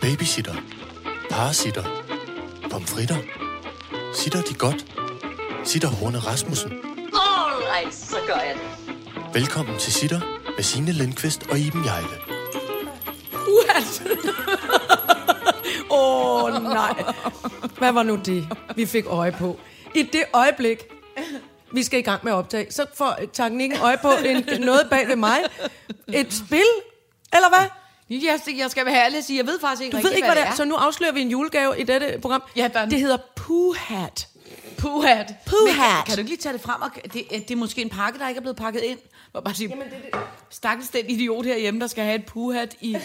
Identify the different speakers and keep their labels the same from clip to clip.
Speaker 1: Babysitter. Parasitter. Pomfritter. Sitter de godt? Sitter Horne Rasmussen.
Speaker 2: Alright, så gør jeg det.
Speaker 1: Velkommen til Sitter med Signe Lindqvist og Iben Jejle.
Speaker 3: Åh oh, nej. Hvad var nu det, vi fik øje på? I det øjeblik, vi skal i gang med at optage, så får teknikken øje på en, noget bag ved mig. Et spil, eller hvad?
Speaker 4: Jeg, jeg skal være ærlig og sige, jeg ved faktisk ikke
Speaker 3: Du
Speaker 4: rigtig,
Speaker 3: ved ikke, hvad det er. Så nu afslører vi en julegave i dette program.
Speaker 4: Ja, der er en-
Speaker 3: Det hedder Puhat.
Speaker 4: Puhat.
Speaker 3: Puhat.
Speaker 4: Men Kan, kan du ikke lige tage det frem? Og, det, er- det er måske en pakke, der ikke er blevet pakket ind. Må jeg bare sige, Jamen, det, det. stakkels den idiot herhjemme, der skal have et puhat i... Det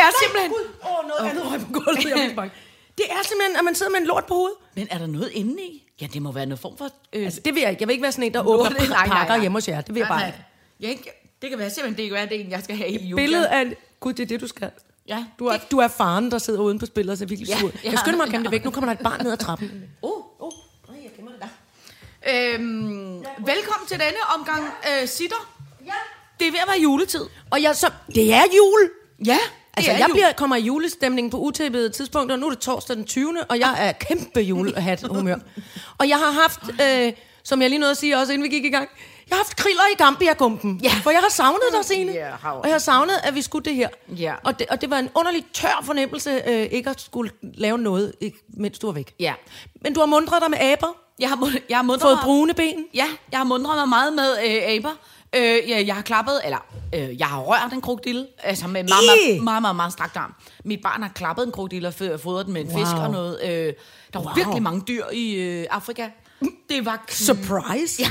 Speaker 4: er simpelthen...
Speaker 3: Åh, oh, noget oh. andet røg på gulvet. Jeg blev bange. det er simpelthen, at man sidder med en lort på hovedet.
Speaker 4: Men er der noget inde i? Ja, det må være noget form for... Øh,
Speaker 3: Altså, det vil jeg ikke. Jeg vil ikke være sådan en, der åbner
Speaker 4: Nej, nej, nej.
Speaker 3: pakker hjemme hos jer. Det vil jeg bare
Speaker 4: nej,
Speaker 3: ikke.
Speaker 4: nej. Jeg ikke. Det kan være simpelthen, det kan være, det er en, jeg skal have i julen.
Speaker 3: Billedet af... Gud, det er det, du skal.
Speaker 4: Ja,
Speaker 3: Du er, du er faren, der sidder uden på spillet og ser virkelig
Speaker 4: Ja,
Speaker 3: sur. ud.
Speaker 4: ja.
Speaker 3: Jeg skynder mig at gemme det væk. Nu kommer der et barn ned ad trappen.
Speaker 4: Uh, uh. Nej, jeg glemmer det der. Øhm, velkommen til denne omgang øh, sitter. Ja. Det er ved at være juletid.
Speaker 3: Og jeg så... Det er jul!
Speaker 4: Ja,
Speaker 3: Altså, jeg bliver, kommer i julestemning på utæppede tidspunkter. Nu er det torsdag den 20. Og
Speaker 4: Ah.
Speaker 3: jeg er kæmpe julehat-humør. Og jeg har haft, øh, som jeg lige nåede at sige også, inden vi gik i gang, jeg har haft kriller i Gambia-gumpen. Ja. For jeg har savnet dig, Signe.
Speaker 4: Ja, har jeg.
Speaker 3: og jeg har savnet, at vi skulle det her.
Speaker 4: Ja.
Speaker 3: Og, det, og det var en underlig tør fornemmelse, øh, ikke at skulle lave noget, ikke, mens du var væk.
Speaker 4: Ja.
Speaker 3: Men du har mundret dig med aber,
Speaker 4: Jeg har, mund- jeg har mundret
Speaker 3: fået
Speaker 4: mig-
Speaker 3: brune ben.
Speaker 4: Ja, jeg har mundret mig meget med øh, aber. Øh, jeg, jeg har klappet, eller øh, jeg har rørt en krokdille, altså med meget,
Speaker 3: Ih!
Speaker 4: meget, meget, meget, meget strakt arm. Mit barn har klappet en krokdille og fø- fodret den med en wow. fisk
Speaker 3: Wow.
Speaker 4: og noget. Øh, der var
Speaker 3: Wow.
Speaker 4: wow. virkelig mange dyr i øh, Afrika. Det var...
Speaker 3: Surprise! Ja.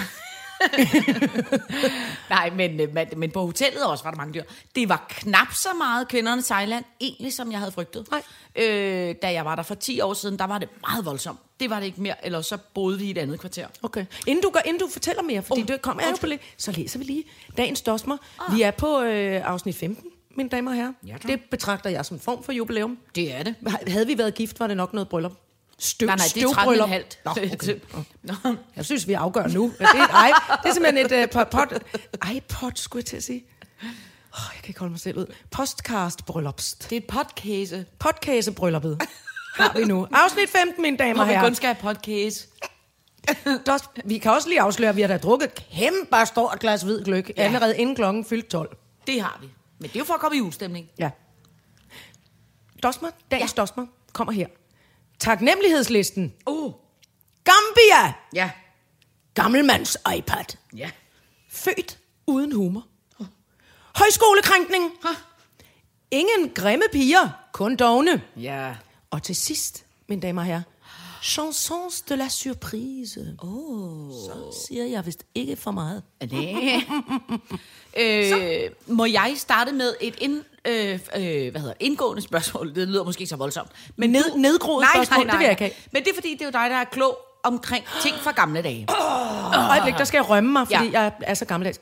Speaker 4: Nej, men, øh, men, men på hotellet også var der mange dyr. Det var knap så meget kvindernes sejland, egentlig som jeg havde frygtet.
Speaker 3: Nej.
Speaker 4: Øh, da jeg var der for 10 år siden, der var det meget voldsomt. Det var det ikke mere, eller så boede vi i et andet kvarter.
Speaker 3: Okay. Inden du, gør, inden du fortæller mere, fordi
Speaker 4: Oh,
Speaker 3: oh, det kommer jeg jo på
Speaker 4: undskyld.
Speaker 3: lidt, så læser vi lige dagens dosmer. Ah. Vi er på øh, afsnit 15, mine damer og herrer.
Speaker 4: Ja, tak.
Speaker 3: det betragter jeg som en form for jubilæum.
Speaker 4: Det er det.
Speaker 3: Havde vi været gift, var det nok noget bryllup. Støv,
Speaker 4: Nej, nej, det er 13
Speaker 3: støvbryllup.
Speaker 4: og halvt.
Speaker 3: Nå, okay.
Speaker 4: Nå.
Speaker 3: Jeg synes, vi afgør nu. Ja, Det er, et, ej, det er simpelthen et uh, pot, iPod, skulle jeg til at sige. Oh, jeg kan ikke holde mig selv ud. Postcast-bryllups.
Speaker 4: Det er et podcast.
Speaker 3: Podcast-brylluppet har vi nu. Afsnit 15, mine damer
Speaker 4: Når
Speaker 3: og
Speaker 4: vi
Speaker 3: herrer.
Speaker 4: kun skal have podcast.
Speaker 3: Dos, vi kan også lige afsløre, at vi har da drukket et kæmpe stort glas hvid gløk, ja.
Speaker 4: Ja.
Speaker 3: allerede inden klokken fyldte 12.
Speaker 4: Det har vi. Men det er jo for at komme i julestemning.
Speaker 3: Ja. Dosmer, dagens ja. dosmer, kommer her. Taknemmelighedslisten.
Speaker 4: Uh,
Speaker 3: Gambia!
Speaker 4: ja.
Speaker 3: Gammelmands iPad.
Speaker 4: Ja.
Speaker 3: Født uden humor. Højskolekrænkning. Ingen grimme piger, kun dogne.
Speaker 4: Ja.
Speaker 3: Og til sidst, mine damer og herrer, chansons de la surprise. Oh. Så siger jeg vist ikke for meget.
Speaker 4: øh, må jeg starte med et ind, øh, øh, hvad hedder, indgående spørgsmål? Det lyder måske ikke så voldsomt. Men
Speaker 3: Ned,
Speaker 4: du-
Speaker 3: nedgroet
Speaker 4: nej,
Speaker 3: spørgsmål,
Speaker 4: nej, nej,
Speaker 3: det vil jeg ikke have.
Speaker 4: Men det er fordi, det er jo dig, der er klog omkring ting fra gamle dage.
Speaker 3: Øjeblik, der skal jeg rømme mig, fordi
Speaker 4: Ja.
Speaker 3: Ah. ja. jeg er så gammeldags.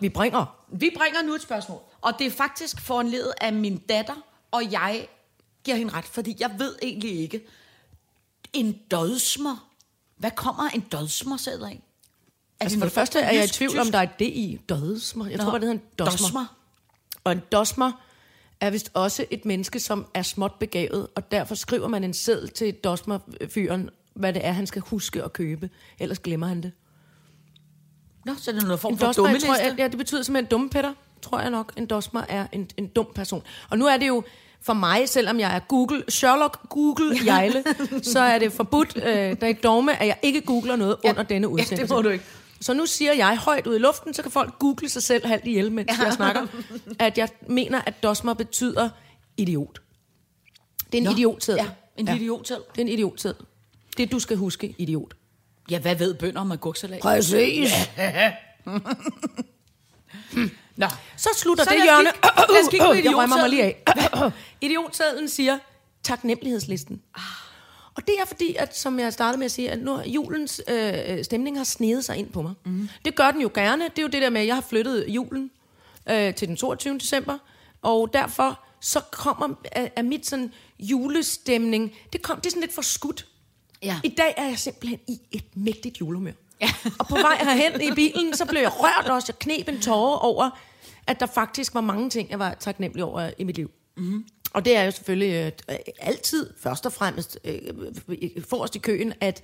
Speaker 3: Vi bringer.
Speaker 4: Vi bringer nu et spørgsmål, og det er faktisk foranledet af min datter, og jeg giver hende ret, fordi jeg ved egentlig ikke. En dødsmer. Hvad kommer en dødsmer selv af? Er
Speaker 3: Altså
Speaker 4: noget
Speaker 3: for det første er jeg i tvivl om,
Speaker 4: jysk,
Speaker 3: der er et D i dødsmer. Jeg tror, bare, det hedder en
Speaker 4: tysk?
Speaker 3: dosmer. Og en dosmer er vist også et menneske, som er småt begavet, og derfor skriver man en seddel til dosmerfyren, hvad det er, han skal huske at købe. Ellers glemmer han det.
Speaker 4: Nå, så er det noget form
Speaker 3: En
Speaker 4: for
Speaker 3: dosmer,
Speaker 4: dumme
Speaker 3: jeg tror, jeg, ja, det betyder simpelthen dumme Peter, tror jeg nok. En dosmer er en, en dum person. Og nu er det jo for mig, selvom jeg er Google, Sherlock Google Jejle, så er det forbudt, øh, der er et dogme, at jeg ikke googler noget ja. under denne udsendelse.
Speaker 4: det må du ikke.
Speaker 3: Så nu siger jeg højt ud i luften, så kan folk google sig selv halvt ihjel, mens ja. jeg snakker, at jeg mener, at dosmer betyder idiot. Det er en
Speaker 4: Nå,
Speaker 3: idiotseddel.
Speaker 4: ja, en idiotseddel.
Speaker 3: Det er en idiotseddel. Det, du skal huske, idiot.
Speaker 4: Ja, hvad ved bønder om agurksalat?
Speaker 3: Præcis.
Speaker 4: Nå,
Speaker 3: Så slutter
Speaker 4: Så
Speaker 3: det
Speaker 4: lad os
Speaker 3: hjørne.
Speaker 4: kigge- lad os kigge på
Speaker 3: Jeg rømmer mig lige af.
Speaker 4: idiotsedlen.
Speaker 3: Idiotsedlen siger taknemmelighedslisten. Ah. Og det er fordi, at som jeg startede med at sige, at nu har julens øh, øh, stemning har sneget sig ind på mig.
Speaker 4: Mhm.
Speaker 3: Mm. Det gør den jo gerne. Det er jo det der med, at jeg har flyttet julen øh, til den 22. december. Og derfor så kommer er, er mit sådan julestemning, det, kom, det er sådan lidt for skudt.
Speaker 4: Ja.
Speaker 3: I dag er jeg simpelthen i et mægtigt julehumør. Ja. og på vej herhen i bilen, så blev jeg rørt også. Jeg knep en tårer over, at der faktisk var mange ting, jeg var taknemmelig over i mit liv. Mm-hmm. Og det er jo selvfølgelig øh, altid først og fremmest øh, øh, forrest i køen, at,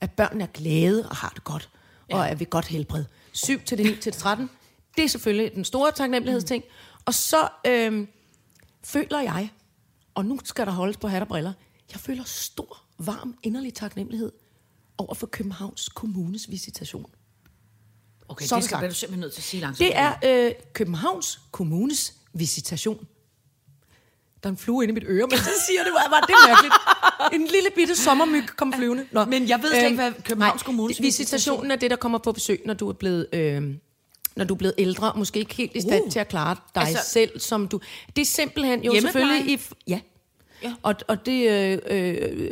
Speaker 3: at børnene er glade og har det godt, ja. og er ved godt helbred. 7 til det 9 til det 13, det er selvfølgelig den store taknemmelighedsting. Mm. Og så øh, føler jeg, og nu skal der holdes på hat og briller, jeg føler stor, varm, inderlig taknemmelighed over for Københavns Kommunes visitation.
Speaker 4: Okay,
Speaker 3: Så er
Speaker 4: det
Speaker 3: det
Speaker 4: skal
Speaker 3: sagt.
Speaker 4: bliver du simpelthen nødt til at sige langsomt.
Speaker 3: Det er øh, Københavns Kommunes visitation. Der er en flue inde i mit øre, men så siger det var det er mærkeligt. En lille bitte sommermyg kom flyvende. Nå. øh,
Speaker 4: Men jeg ved slet ikke, hvad Københavns
Speaker 3: nej,
Speaker 4: Kommunes
Speaker 3: det- Visitationen er det, der kommer på besøg, når du er blevet... Øh, når du er blevet ældre, og måske ikke helt i stand
Speaker 4: Uh.
Speaker 3: uh, til at klare dig
Speaker 4: Altså-
Speaker 3: altså, selv, som du... Det er simpelthen jo
Speaker 4: Hjemmepleje?
Speaker 3: selvfølgelig... I, f- ja. ja. Og, og det øh, øh,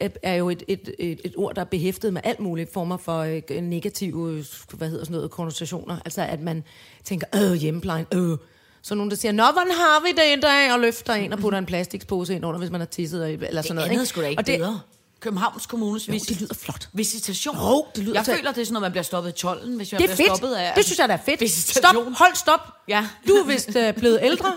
Speaker 3: er- er jo et, et, et, et ord, der er behæftet med alt mulige former for øh, negative, øh, hvad hedder sådan noget, konnotationer. Altså, at man tænker, øh, hjemmeplejen, øh. Så er nogen, der siger, nå, hvordan har vi det i dag? Og løfter en og putter en plastikpose ind under, hvis man har tisset, og- eller sådan
Speaker 4: det
Speaker 3: noget.
Speaker 4: andet skulle da ikke
Speaker 3: og det,
Speaker 4: bedre. Københavns Kommunes
Speaker 3: Jo,
Speaker 4: visi-
Speaker 3: det lyder flot.
Speaker 4: visitation.
Speaker 3: Jo, det lyder
Speaker 4: jeg
Speaker 3: til-
Speaker 4: føler, det er sådan, når man bliver stoppet i tolden, hvis man
Speaker 3: Det er
Speaker 4: bliver
Speaker 3: fedt.
Speaker 4: stoppet af... altså,
Speaker 3: Det synes jeg, der er fedt. Stop.
Speaker 4: Visitation.
Speaker 3: Hold stop.
Speaker 4: Ja.
Speaker 3: Du er vist øh, blevet ældre.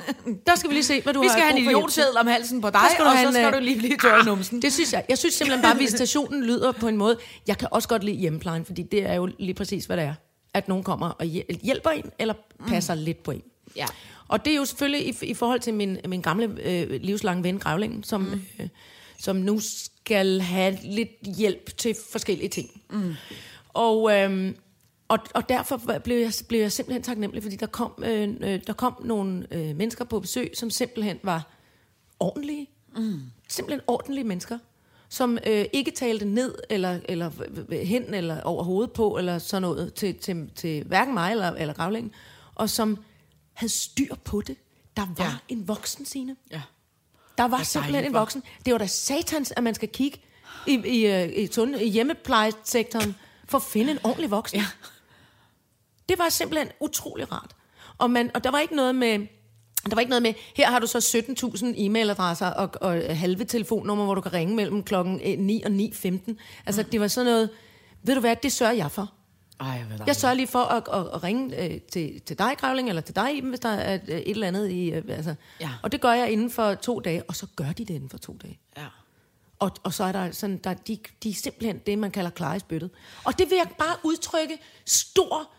Speaker 3: Der skal vi lige se, hvad du
Speaker 4: Vi
Speaker 3: har
Speaker 4: skal have
Speaker 3: brug
Speaker 4: en
Speaker 3: for hjælp til.
Speaker 4: idiotseddel om halsen på dig,
Speaker 3: Så skal du
Speaker 4: og Ah,
Speaker 3: have
Speaker 4: så
Speaker 3: en,
Speaker 4: skal
Speaker 3: øh,
Speaker 4: du lige blive tørret i numsen.
Speaker 3: Det synes jeg. Jeg synes simpelthen bare, at visitationen lyder på en måde. Jeg kan også godt lide hjemmeplejen, fordi det er jo lige præcis, hvad det er. At nogen kommer og hjæl- hjælper en, eller passer mm. lidt på en.
Speaker 4: Ja.
Speaker 3: Og det er jo selvfølgelig i, i forhold til min, min gamle øh, livslange ven, Grævlingen, som, mm. øh, som nu skal have lidt hjælp til forskellige ting. Mm. Og, øh, og, og derfor var- blev jeg, blev jeg simpelthen taknemmelig, fordi der kom, øh, øh, der kom nogle øh, mennesker på besøg, som simpelthen var ordentlige. Mm. Simpelthen ordentlige mennesker, som øh, ikke talte ned eller, eller v- v- hen eller over hovedet på eller sådan noget til, til, til hverken mig eller, eller gravlingen, og som havde styr på det. Der var
Speaker 4: Ja.
Speaker 3: ja. en voksen, sine.
Speaker 4: Ja.
Speaker 3: Der var
Speaker 4: er
Speaker 3: simpelthen
Speaker 4: dejligt,
Speaker 3: en
Speaker 4: hva'?
Speaker 3: voksen. Det var da satans, at man skal kigge i, i, øh, i, tunde, i hjemmeplejesektoren for at finde en ordentlig voksen. Ja. Det var simpelthen utrolig rart. Og, man, og der var ikke noget med... Der var ikke noget med, her har du så 17.000 e-mailadresser og, og halve telefonnummer, hvor du kan ringe mellem klokken øh, 9 og 9.15. Altså,
Speaker 4: Mm.
Speaker 3: det var sådan noget, ved du hvad, det sørger jeg for.
Speaker 4: Ej, hvad
Speaker 3: Jeg sørger lige for at, at, at ringe øh, til, til dig, Grævling, eller til dig, Iben, hvis der er øh, et eller andet i... Øh, altså.
Speaker 4: Ja.
Speaker 3: Og det gør jeg inden for to dage, og så gør de det inden for to dage.
Speaker 4: Ja.
Speaker 3: Og, og så er der sådan, der, de, de er simpelthen det, man kalder klare i spyttet. Og det vil jeg bare udtrykke stor,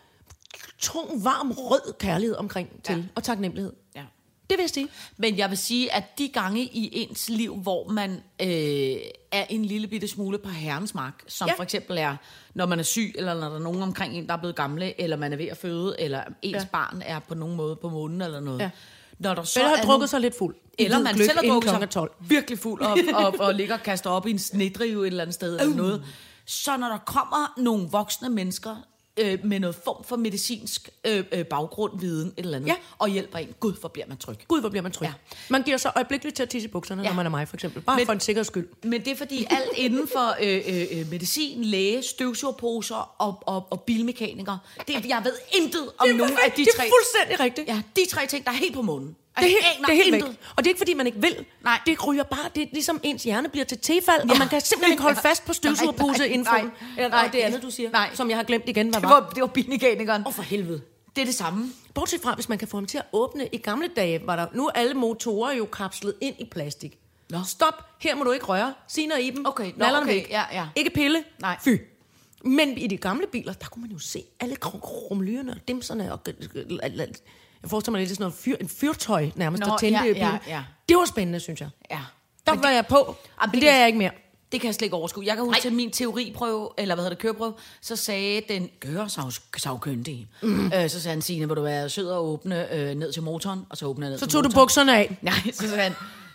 Speaker 3: tung, varm, rød kærlighed omkring til,
Speaker 4: Ja.
Speaker 3: og taknemmelighed.
Speaker 4: ja.
Speaker 3: Det vil jeg sige.
Speaker 4: Men jeg vil sige, at de gange i ens liv, hvor man øh, er en lille bitte smule på herrens mark, som ja.
Speaker 3: Ja.
Speaker 4: for eksempel er, når man er syg, eller når der er nogen omkring en, der er blevet gamle, eller man er ved at føde, eller ens ja.
Speaker 3: Ja.
Speaker 4: barn er på nogen måde på månen eller noget. Ja.
Speaker 3: Ja.
Speaker 4: Når der så
Speaker 3: Eller
Speaker 4: er
Speaker 3: har
Speaker 4: nogen-
Speaker 3: drukket sig lidt fuld.
Speaker 4: Eller
Speaker 3: Hvid
Speaker 4: man
Speaker 3: gløgg
Speaker 4: selv har
Speaker 3: inden
Speaker 4: drukket
Speaker 3: klokken er
Speaker 4: sig
Speaker 3: 12.
Speaker 4: virkelig fuld op, op, og ligger og kaster op i en snedrive et eller andet sted eller noget. Så når der kommer nogle voksne mennesker øh, med noget form for medicinsk øh, øh, baggrund, viden et eller andet, ja.
Speaker 3: Ja.
Speaker 4: og hjælper en, gud, hvor bliver man tryg.
Speaker 3: Gud, hvor bliver man tryg.
Speaker 4: Ja.
Speaker 3: Ja. Man giver sig øjeblikkeligt til at tisse i bukserne, ja.
Speaker 4: Ja.
Speaker 3: når man er mig, for eksempel. Bare
Speaker 4: Men-
Speaker 3: Men, for en sikkerheds skyld.
Speaker 4: Men det er fordi alt inden for øh, øh, øh, medicin, læge, støvsugerposer og, og, og bilmekanikere, det, jeg ved intet om nogen af de
Speaker 3: det
Speaker 4: tre.
Speaker 3: er fuldstændig rigtigt.
Speaker 4: Ja, de tre ting, der er helt på månen.
Speaker 3: Det er,
Speaker 4: Jeg
Speaker 3: helt,
Speaker 4: Altså, aner
Speaker 3: det er helt væk.
Speaker 4: intet.
Speaker 3: Og det er ikke, fordi man ikke vil.
Speaker 4: Nej.
Speaker 3: Det ryger bare. Det er ligesom ens hjerne bliver til tefald, ja. og man kan simpelthen ikke holde fast på
Speaker 4: Nej,
Speaker 3: støvsugerposeinfoen.
Speaker 4: nej, nej.
Speaker 3: Eller nej, det andet, du siger,
Speaker 4: Nej.
Speaker 3: som jeg har glemt igen, hvad
Speaker 4: Det
Speaker 3: var.
Speaker 4: var, det var bilmekanikeren. Åh, oh, for helvede. Det er det samme.
Speaker 3: Bortset fra, hvis man kan få ham til at åbne. I gamle dage var der... Nu er alle motorer jo kapslet ind i plastik.
Speaker 4: Nå.
Speaker 3: Stop, her må du ikke røre. Siner i dem.
Speaker 4: Okay, nå,
Speaker 3: Nallerne
Speaker 4: okay,
Speaker 3: væk.
Speaker 4: ja, ja.
Speaker 3: Ikke pille.
Speaker 4: Nej.
Speaker 3: Fy. Men i de gamle biler, der kunne man jo se alle kr- krumlyrene og dimserne. Og, jeg forestiller mig lidt sådan noget fyr, en fyrtøj nærmest,
Speaker 4: Nå,
Speaker 3: der tændte
Speaker 4: ja,
Speaker 3: i bilen.
Speaker 4: ja, ja.
Speaker 3: Det var spændende, synes jeg.
Speaker 4: Ja.
Speaker 3: Der var jeg på,
Speaker 4: Jamen, det
Speaker 3: men det
Speaker 4: kan-
Speaker 3: er jeg ikke mere.
Speaker 4: Det kan jeg slet ikke overskue. Jeg kan huske til min teoriprøve, eller hvad hedder det, køreprøve, så sagde den køresagkyndige, mm. øh, så sagde han, Signe, hvor du være sød og åbne øh, ned til motoren, og så åbner jeg ned
Speaker 3: Så
Speaker 4: til
Speaker 3: tog du
Speaker 4: motoren.
Speaker 3: bukserne af.
Speaker 4: Nej, så sagde han,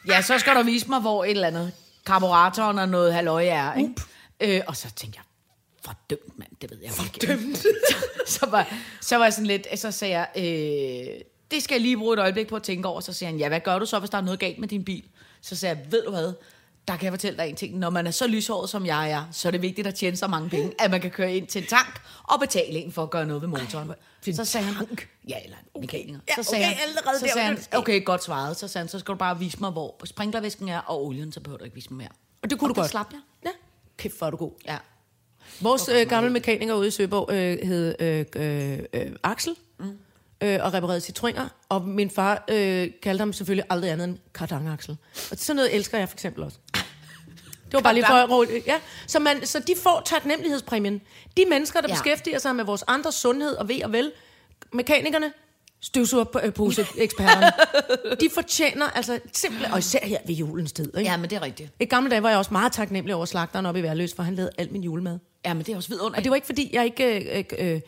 Speaker 4: ja, så skal du vise mig, hvor et eller andet karburatoren og noget halvøje er. Ikke? Øh, og så tænkte jeg, fordømt mand, det ved jeg Fordømt? så, var, så var jeg sådan lidt, så sagde jeg, øh, det skal jeg lige bruge et øjeblik på at tænke over. Så siger han, ja, hvad gør du så, hvis der er noget galt med din bil? Så sagde jeg, ved du hvad, der kan jeg fortælle dig en ting. Når man er så lyshåret, som jeg er, så er det vigtigt at tjene så mange penge, at man kan køre ind til en tank og betale en for at gøre noget ved motoren. så sagde han, ja, eller en mekaniker.
Speaker 3: Ja,
Speaker 4: så sagde
Speaker 3: okay,
Speaker 4: han,
Speaker 3: allerede
Speaker 4: så
Speaker 3: der var
Speaker 4: sagde
Speaker 3: det,
Speaker 4: han,
Speaker 3: der skete.
Speaker 4: okay, godt svaret. Så sagde han, så skal du bare vise mig, hvor sprinklervæsken er, og olien, så behøver du ikke vise mig mere.
Speaker 3: Og det kunne du
Speaker 4: Og der
Speaker 3: godt.
Speaker 4: slap jeg.
Speaker 3: Ja. Kæft, hvor er du god.
Speaker 4: Ja.
Speaker 3: Vores øh, gamle mekaniker ude i Søborg øh, hed øh, øh, øh, Axel. Mm. øh, og reparerede citringer, og min far øh, kaldte ham selvfølgelig aldrig andet end kardangaksel. Og sådan noget elsker jeg for eksempel også. Det var bare lige for at råde. Ja. Så, man, så de får taknemmelighedspræmien. De mennesker, der
Speaker 4: Ja.
Speaker 3: ja. beskæftiger sig med vores andres sundhed og ved og vel, mekanikerne, støvsugerposeeksperterne, de fortjener altså simpelthen, og især her ved julens tid. Ikke?
Speaker 4: Ja, men det er rigtigt.
Speaker 3: I gamle dage var jeg også meget taknemmelig over slagteren oppe i Værløs, for han lavede al min julemad.
Speaker 4: Ja, men det er også vidunderligt.
Speaker 3: Og det var ikke fordi, jeg ikke, øh, øh, øh, det er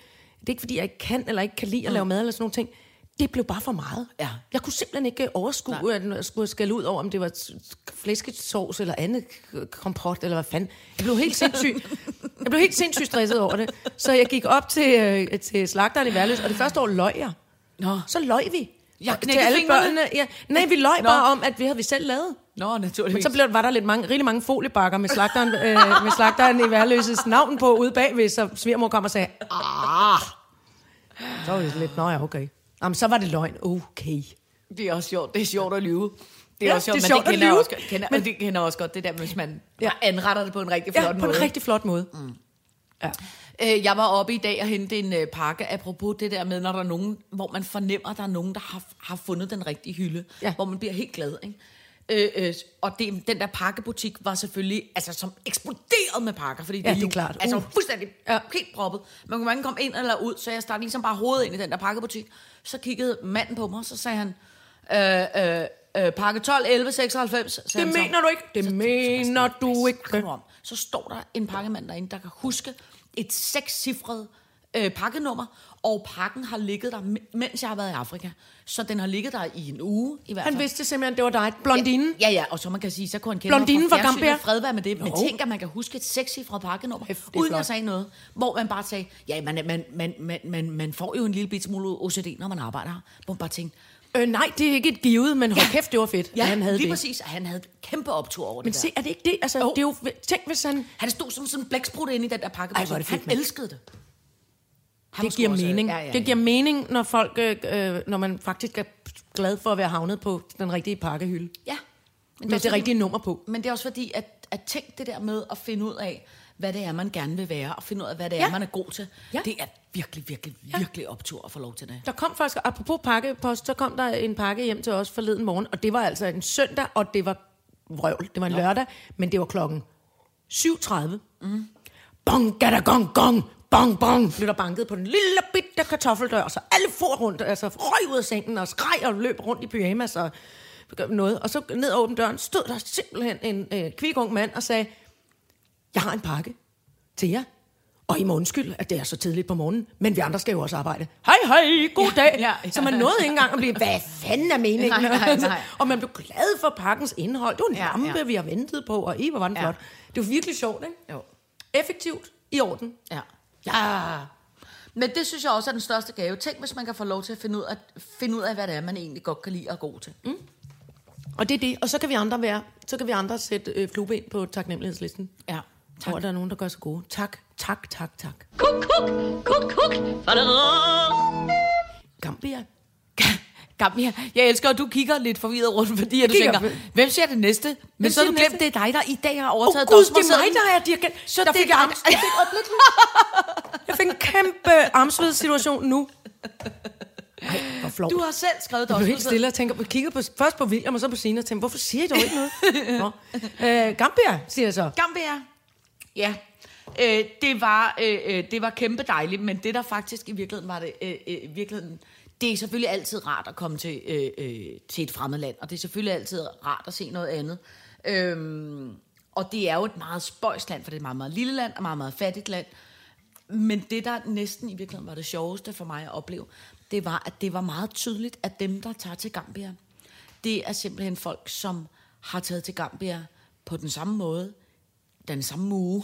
Speaker 3: ikke fordi, jeg ikke kan eller ikke kan lide at lave mad eller sådan nogle ting. Det blev bare for meget.
Speaker 4: Mm. Ja.
Speaker 3: Jeg kunne simpelthen ikke øh, overskue, at jeg skulle skælde ud over, om det var s- flæskesovs eller andet k- kompot, eller hvad fanden. Jeg blev helt sindssyg. jeg blev helt sindssygt stresset over det. Så jeg gik op til, øh, til slagteren i Værløs, og det første år løg jeg.
Speaker 4: Nå.
Speaker 3: Så løg vi.
Speaker 4: Jeg
Speaker 3: Og- til
Speaker 4: knækkede
Speaker 3: alle
Speaker 4: fingrene.
Speaker 3: børnene. Ja. Nej, vi løg
Speaker 4: Nå.
Speaker 3: bare om, at vi havde vi selv lavet.
Speaker 4: Nå, naturligvis.
Speaker 3: Men så blev, var der lidt mange, rigtig mange foliebakker med slagteren, øh, med slagteren i værløses navn på ude bagved, så svigermor kom og sagde, ah. Så var det lidt, nå ja, okay. Jamen, så var det løgn. Okay.
Speaker 4: Det er også sjovt. Det er sjovt at lyve. Det er
Speaker 3: Ja,
Speaker 4: også sjovt,
Speaker 3: det er
Speaker 4: men
Speaker 3: sjovt
Speaker 4: det
Speaker 3: at
Speaker 4: kender jeg
Speaker 3: lyve.
Speaker 4: også, kender, men, det kender jeg også godt, det der, hvis man ja. anretter det på en rigtig flot
Speaker 3: Ja, på
Speaker 4: måde.
Speaker 3: en rigtig flot måde. Mm. Ja.
Speaker 4: Øh, Jeg var oppe i dag og hente en øh, pakke, apropos det der med, når der er nogen, hvor man fornemmer, at der er nogen, der har, har fundet den rigtige hylde, ja.
Speaker 3: Ja.
Speaker 4: hvor man bliver helt glad, ikke? Øh, øh, og det, den der pakkebutik var selvfølgelig, altså som eksploderede med pakker, fordi det,
Speaker 3: Ja, det er
Speaker 4: jul.
Speaker 3: klart.
Speaker 4: Altså
Speaker 3: Uh.
Speaker 4: fuldstændig ja.
Speaker 3: Ja.
Speaker 4: helt proppet. Man kunne hverken komme ind eller ud, så jeg startede ligesom bare hovedet ind i den der pakkebutik. Så kiggede manden på mig, så sagde han, øh, øh, øh, pakke 12, 11, 96. sagde
Speaker 3: Det
Speaker 4: han så.
Speaker 3: mener du ikke. Det mener du
Speaker 4: Snakker
Speaker 3: ikke.
Speaker 4: om. Så står der en pakkemand derinde, der kan huske et sekscifret øh, pakkenummer, og pakken har ligget der, m- mens jeg har været i Afrika. Så den har ligget der i en uge i hvert fald.
Speaker 3: Han vidste simpelthen, det var dig. Blondinen.
Speaker 4: Ja, ja, og så man kan sige, så kunne han kende mig
Speaker 3: Blondinen fra
Speaker 4: fjernsynet,
Speaker 3: Gambia.
Speaker 4: fred være med det, men
Speaker 3: Jo.
Speaker 4: tænk, at man kan huske et sekscifret pakkenummer,
Speaker 3: Kæft, det er
Speaker 4: uden at
Speaker 3: flot.
Speaker 4: sige noget. Hvor man bare sagde, ja, man, man, man, man, man, man får jo en lille bit smule OCD, når man arbejder her. Hvor man bare tænkte,
Speaker 3: Øh, nej, det er ikke et givet, men hold kæft, det var fedt.
Speaker 4: ja,
Speaker 3: at han havde
Speaker 4: lige
Speaker 3: det.
Speaker 4: præcis, og han havde kæmpe optur over
Speaker 3: Men
Speaker 4: det
Speaker 3: se,
Speaker 4: der.
Speaker 3: er det ikke det? Altså,
Speaker 4: Jo.
Speaker 3: det er jo, tænk, hvis han...
Speaker 4: Han stod som sådan en blæksprutte inde i den der pakke.
Speaker 3: Ej, hvor er det fedt,
Speaker 4: han
Speaker 3: mand.
Speaker 4: elskede det. Han var
Speaker 3: det
Speaker 4: sgu
Speaker 3: giver
Speaker 4: også-
Speaker 3: mening.
Speaker 4: Ja, ja, ja.
Speaker 3: Det giver mening, når folk, øh, øh, når man faktisk er glad for at være havnet på den rigtige pakkehylde.
Speaker 4: ja. Men
Speaker 3: Med
Speaker 4: også
Speaker 3: det
Speaker 4: fordi-
Speaker 3: rigtige nummer på.
Speaker 4: Men det er også fordi, at, at tænk det der med at finde ud af, hvad det er, man gerne vil være, og finde ud af, hvad det ja. er,
Speaker 3: Ja.
Speaker 4: man er god til. Ja.
Speaker 3: Ja.
Speaker 4: Det er virkelig, virkelig, virkelig optur at få lov til det.
Speaker 3: Der kom faktisk, apropos pakkepost, så kom der en pakke hjem til os forleden morgen, og det var altså en søndag, og det var vrøvl. Det var en lørdag, men det var klokken 7.30. Mm. Bong, gada, gong, gong, bong, bong, blev der banket på den lille bitte kartoffeldør, så alle for rundt, altså røg ud af sengen og skreg og løb rundt i pyjamas og noget. Og så ned og åbne døren, stod der simpelthen en øh, kvik ung mand og sagde, jeg har en pakke til jer. Og I må undskylde, at det er så tidligt på morgenen, men vi andre skal jo også arbejde. Hej, hej, god dag.
Speaker 4: Ja,
Speaker 3: ja,
Speaker 4: ja.
Speaker 3: ja. Så man nåede ikke engang at blive, hvad fanden er meningen?
Speaker 4: Nej, nej, nej.
Speaker 3: og man blev glad for pakkens indhold. Det var en
Speaker 4: Ja,
Speaker 3: ja, lampe,
Speaker 4: ja.
Speaker 3: ja. vi har ventet på, og I, hvor var den
Speaker 4: Ja.
Speaker 3: ja. flot. Det var virkelig sjovt, ikke?
Speaker 4: Jo.
Speaker 3: Effektivt, i orden.
Speaker 4: Ja. Ja. Men det synes jeg også er den største gave. Tænk, hvis man kan få lov til at finde ud af, finde ud af hvad det er, man egentlig godt kan lide og er god til. Mm.
Speaker 3: Og det er det. Og så kan vi andre være, så kan vi andre sætte øh, flueben på taknemmelighedslisten.
Speaker 4: Ja.
Speaker 3: Tak. Hvor der er nogen, der gør sig gode. Tak, tak, tak, tak.
Speaker 2: Kuk, kuk, kuk, kuk. Faderå.
Speaker 3: Gambia.
Speaker 4: Gammel, ja. jeg elsker, at du kigger lidt forvirret rundt, fordi at du
Speaker 3: Kigger.
Speaker 4: tænker, hvem ser det næste? Men
Speaker 3: Hvem
Speaker 4: så har
Speaker 3: ser
Speaker 4: du
Speaker 3: det
Speaker 4: glemt, det er dig, der i dag har
Speaker 3: Åh oh,
Speaker 4: overtaget
Speaker 3: gud, det er
Speaker 4: domsmersedlen.
Speaker 3: mig, der er dirigent. Så der
Speaker 4: det er
Speaker 3: fik jeg,
Speaker 4: dig,
Speaker 3: angst.
Speaker 4: der-
Speaker 3: jeg fik øjeblikkelig. Jeg fik en kæmpe armsvedsituation nu. Ej, hvor flot.
Speaker 4: Du har selv skrevet
Speaker 3: Jeg blev
Speaker 4: domsmersedlen.
Speaker 3: helt stille og tænker, på, kigger på, først på William, og så på Sina, og tænker, hvorfor siger I dog ikke noget? Nå. Øh, Gambia, siger jeg så.
Speaker 4: Gambia. Ja. Øh, det, var, øh, øh, det var kæmpe dejligt, men det der faktisk i virkeligheden var det, øh, øh, i virkeligheden, det er selvfølgelig altid rart at komme til, øh, øh, til et fremmed land, og det er selvfølgelig altid rart at se noget andet. Øhm, og det er jo et meget spøjst land, for det er et meget, meget lille land og meget, meget fattigt land. Men det, der næsten i virkeligheden var det sjoveste for mig at opleve, det var, at det var meget tydeligt, at dem, der tager til Gambia, det er simpelthen folk, som har taget til Gambia på den samme måde, den samme uge,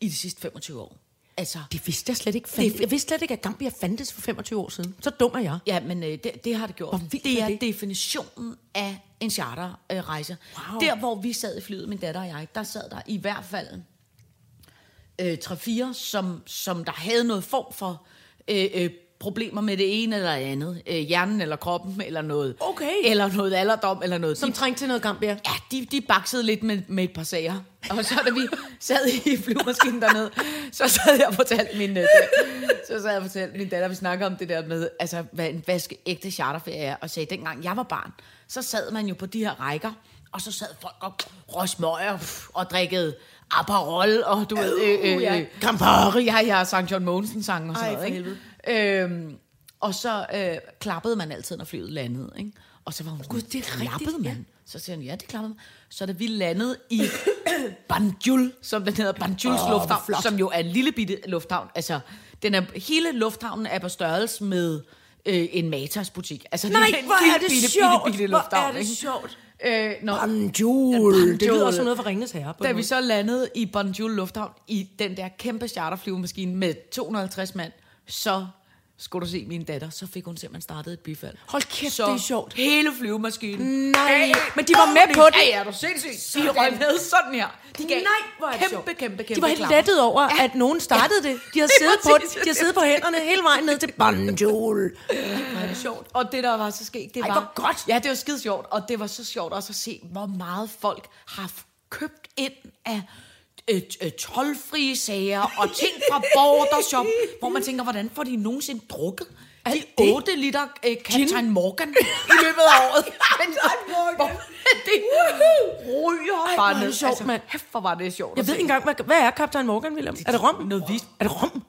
Speaker 4: i de sidste 25 år. Altså,
Speaker 3: Det vidste jeg slet ikke. Fand... Jeg vidste slet ikke, at Gambia fandtes for 25 år siden. Så dum er jeg.
Speaker 4: ja, men øh, det, det har det gjort.
Speaker 3: Hvor vildt
Speaker 4: Det
Speaker 3: er
Speaker 4: er
Speaker 3: det?
Speaker 4: definitionen af en charterrejse. Øh, rejse.
Speaker 3: Wow.
Speaker 4: Der, hvor vi sad i flyet, min datter og jeg, der sad der i hvert fald øh, 3-4, som, som der havde noget form for øh, øh, problemer med det ene eller det andet. Øh, hjernen eller kroppen eller noget.
Speaker 3: Okay.
Speaker 4: Eller noget alderdom eller noget.
Speaker 3: Som trængte til noget gambia.
Speaker 4: Ja, de, de baksede lidt med, med et par sager. Og så da vi sad i flyvemaskinen dernede, så sad jeg og fortalte min, øh, dat- så sad jeg og fortalte min datter, vi snakkede om det der med, altså, hvad en vaske ægte charterferie er, og sagde, dengang jeg var barn, så sad man jo på de her rækker, og så sad folk og røg smøger pff, og drikkede Aperol, og du ved, øh, øh, øh, Campari, ja, ja, St. John Mogensen sang og sådan
Speaker 3: Ej, for
Speaker 4: noget, ikke? Øhm, og så øh, klappede man altid, når flyet landede, ikke? Og så var hun sådan, Gud, det er klappede man? Så siger han, ja, det klappede man. Så da vi landede i Banjul, som den hedder, Banjuls oh, lufthavn, som jo er en lille bitte lufthavn. Altså, den er, hele lufthavnen er på størrelse med øh, en Matas butik. Altså,
Speaker 3: Nej,
Speaker 4: en
Speaker 3: hvor
Speaker 4: lille
Speaker 3: er det
Speaker 4: bitte,
Speaker 3: sjovt!
Speaker 4: Bitte, bitte,
Speaker 3: Hvor
Speaker 4: lufthavn,
Speaker 3: er det
Speaker 4: ikke?
Speaker 3: sjovt!
Speaker 4: Øh, når,
Speaker 3: Banjul. Det lyder
Speaker 4: Banjul.
Speaker 3: også noget for Ringens Herre. På
Speaker 4: da
Speaker 3: en
Speaker 4: vi
Speaker 3: måde.
Speaker 4: så landede i Banjul Lufthavn i den der kæmpe charterflyvemaskine med 250 mand, så skulle du se min datter, så fik hun simpelthen startet et bifald.
Speaker 3: Hold kæft,
Speaker 4: så
Speaker 3: det er sjovt.
Speaker 4: hele flyvemaskinen.
Speaker 3: Nej, men de var med på det.
Speaker 4: Ja, ja, er du sindssygt. Så de røg med sådan her. De gav
Speaker 3: Nej, hvor er det
Speaker 4: kæmpe,
Speaker 3: sjovt.
Speaker 4: kæmpe, kæmpe, kæmpe
Speaker 3: De var helt
Speaker 4: klapper.
Speaker 3: lettet over, ja. at nogen startede det. De har siddet, på,
Speaker 4: præcis.
Speaker 3: de har siddet på hænderne hele vejen ned til Banjul.
Speaker 4: Ej, det sjovt. Og det, der var så sket, det
Speaker 3: Ej,
Speaker 4: var...
Speaker 3: hvor godt.
Speaker 4: Ja, det var skide sjovt. Og det var så sjovt også at se, hvor meget folk har f- købt ind af øh, øh, tolvfrie sager og ting fra Bordershop, hvor man tænker, hvordan får de nogensinde drukket? De
Speaker 3: Alt det?
Speaker 4: 8 liter øh, Captain Morgan i løbet af året. Captain Morgan. det ryger
Speaker 3: hvor er
Speaker 4: bare
Speaker 3: det
Speaker 4: ned. Altså,
Speaker 3: sjovt, mand.
Speaker 4: hæft, hvor var det sjovt.
Speaker 3: Jeg
Speaker 4: at
Speaker 3: ved
Speaker 4: se.
Speaker 3: ikke engang, hvad, hvad er Kaptajn Morgan, William? Er det rom?
Speaker 4: Noget vist.
Speaker 3: Er det rom?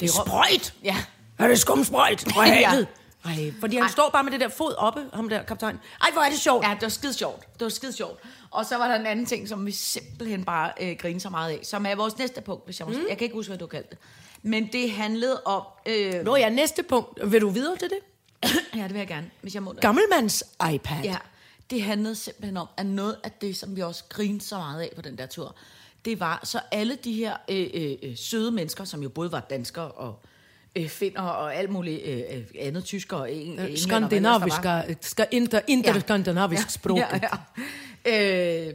Speaker 3: Det er
Speaker 4: rom.
Speaker 3: sprøjt.
Speaker 4: Ja.
Speaker 3: Er det skumsprøjt? Hvor
Speaker 4: Ja.
Speaker 3: er det? Ej, fordi han
Speaker 4: Ej.
Speaker 3: står bare med det der fod oppe, ham der kaptajn. Ej, hvor er det sjovt.
Speaker 4: Ja, det var skide sjovt. Det var skide sjovt. Og så var der en anden ting, som vi simpelthen bare øh, griner så meget af, som er vores næste punkt, hvis jeg må mm. Jeg kan ikke huske, hvad du kaldte det. Men det handlede om... Øh, ja,
Speaker 3: Nå ja, næste punkt. Vil du videre til det?
Speaker 4: det vil jeg gerne, hvis jeg må det.
Speaker 3: Gammelmands iPad.
Speaker 4: Ja, det handlede simpelthen om, at noget af det, som vi også grinede så meget af på den der tur, det var så alle de her øh, øh, øh, søde mennesker, som jo både var danskere og øh, finner og alt muligt øh, øh, andet, tysker og
Speaker 3: Øh,
Speaker 4: en, englænder, hvad ellers der var.
Speaker 3: Skandinaviske, ska, inter, interskandinavisk ja. sprog. Ja, ja.
Speaker 4: ja. Øh,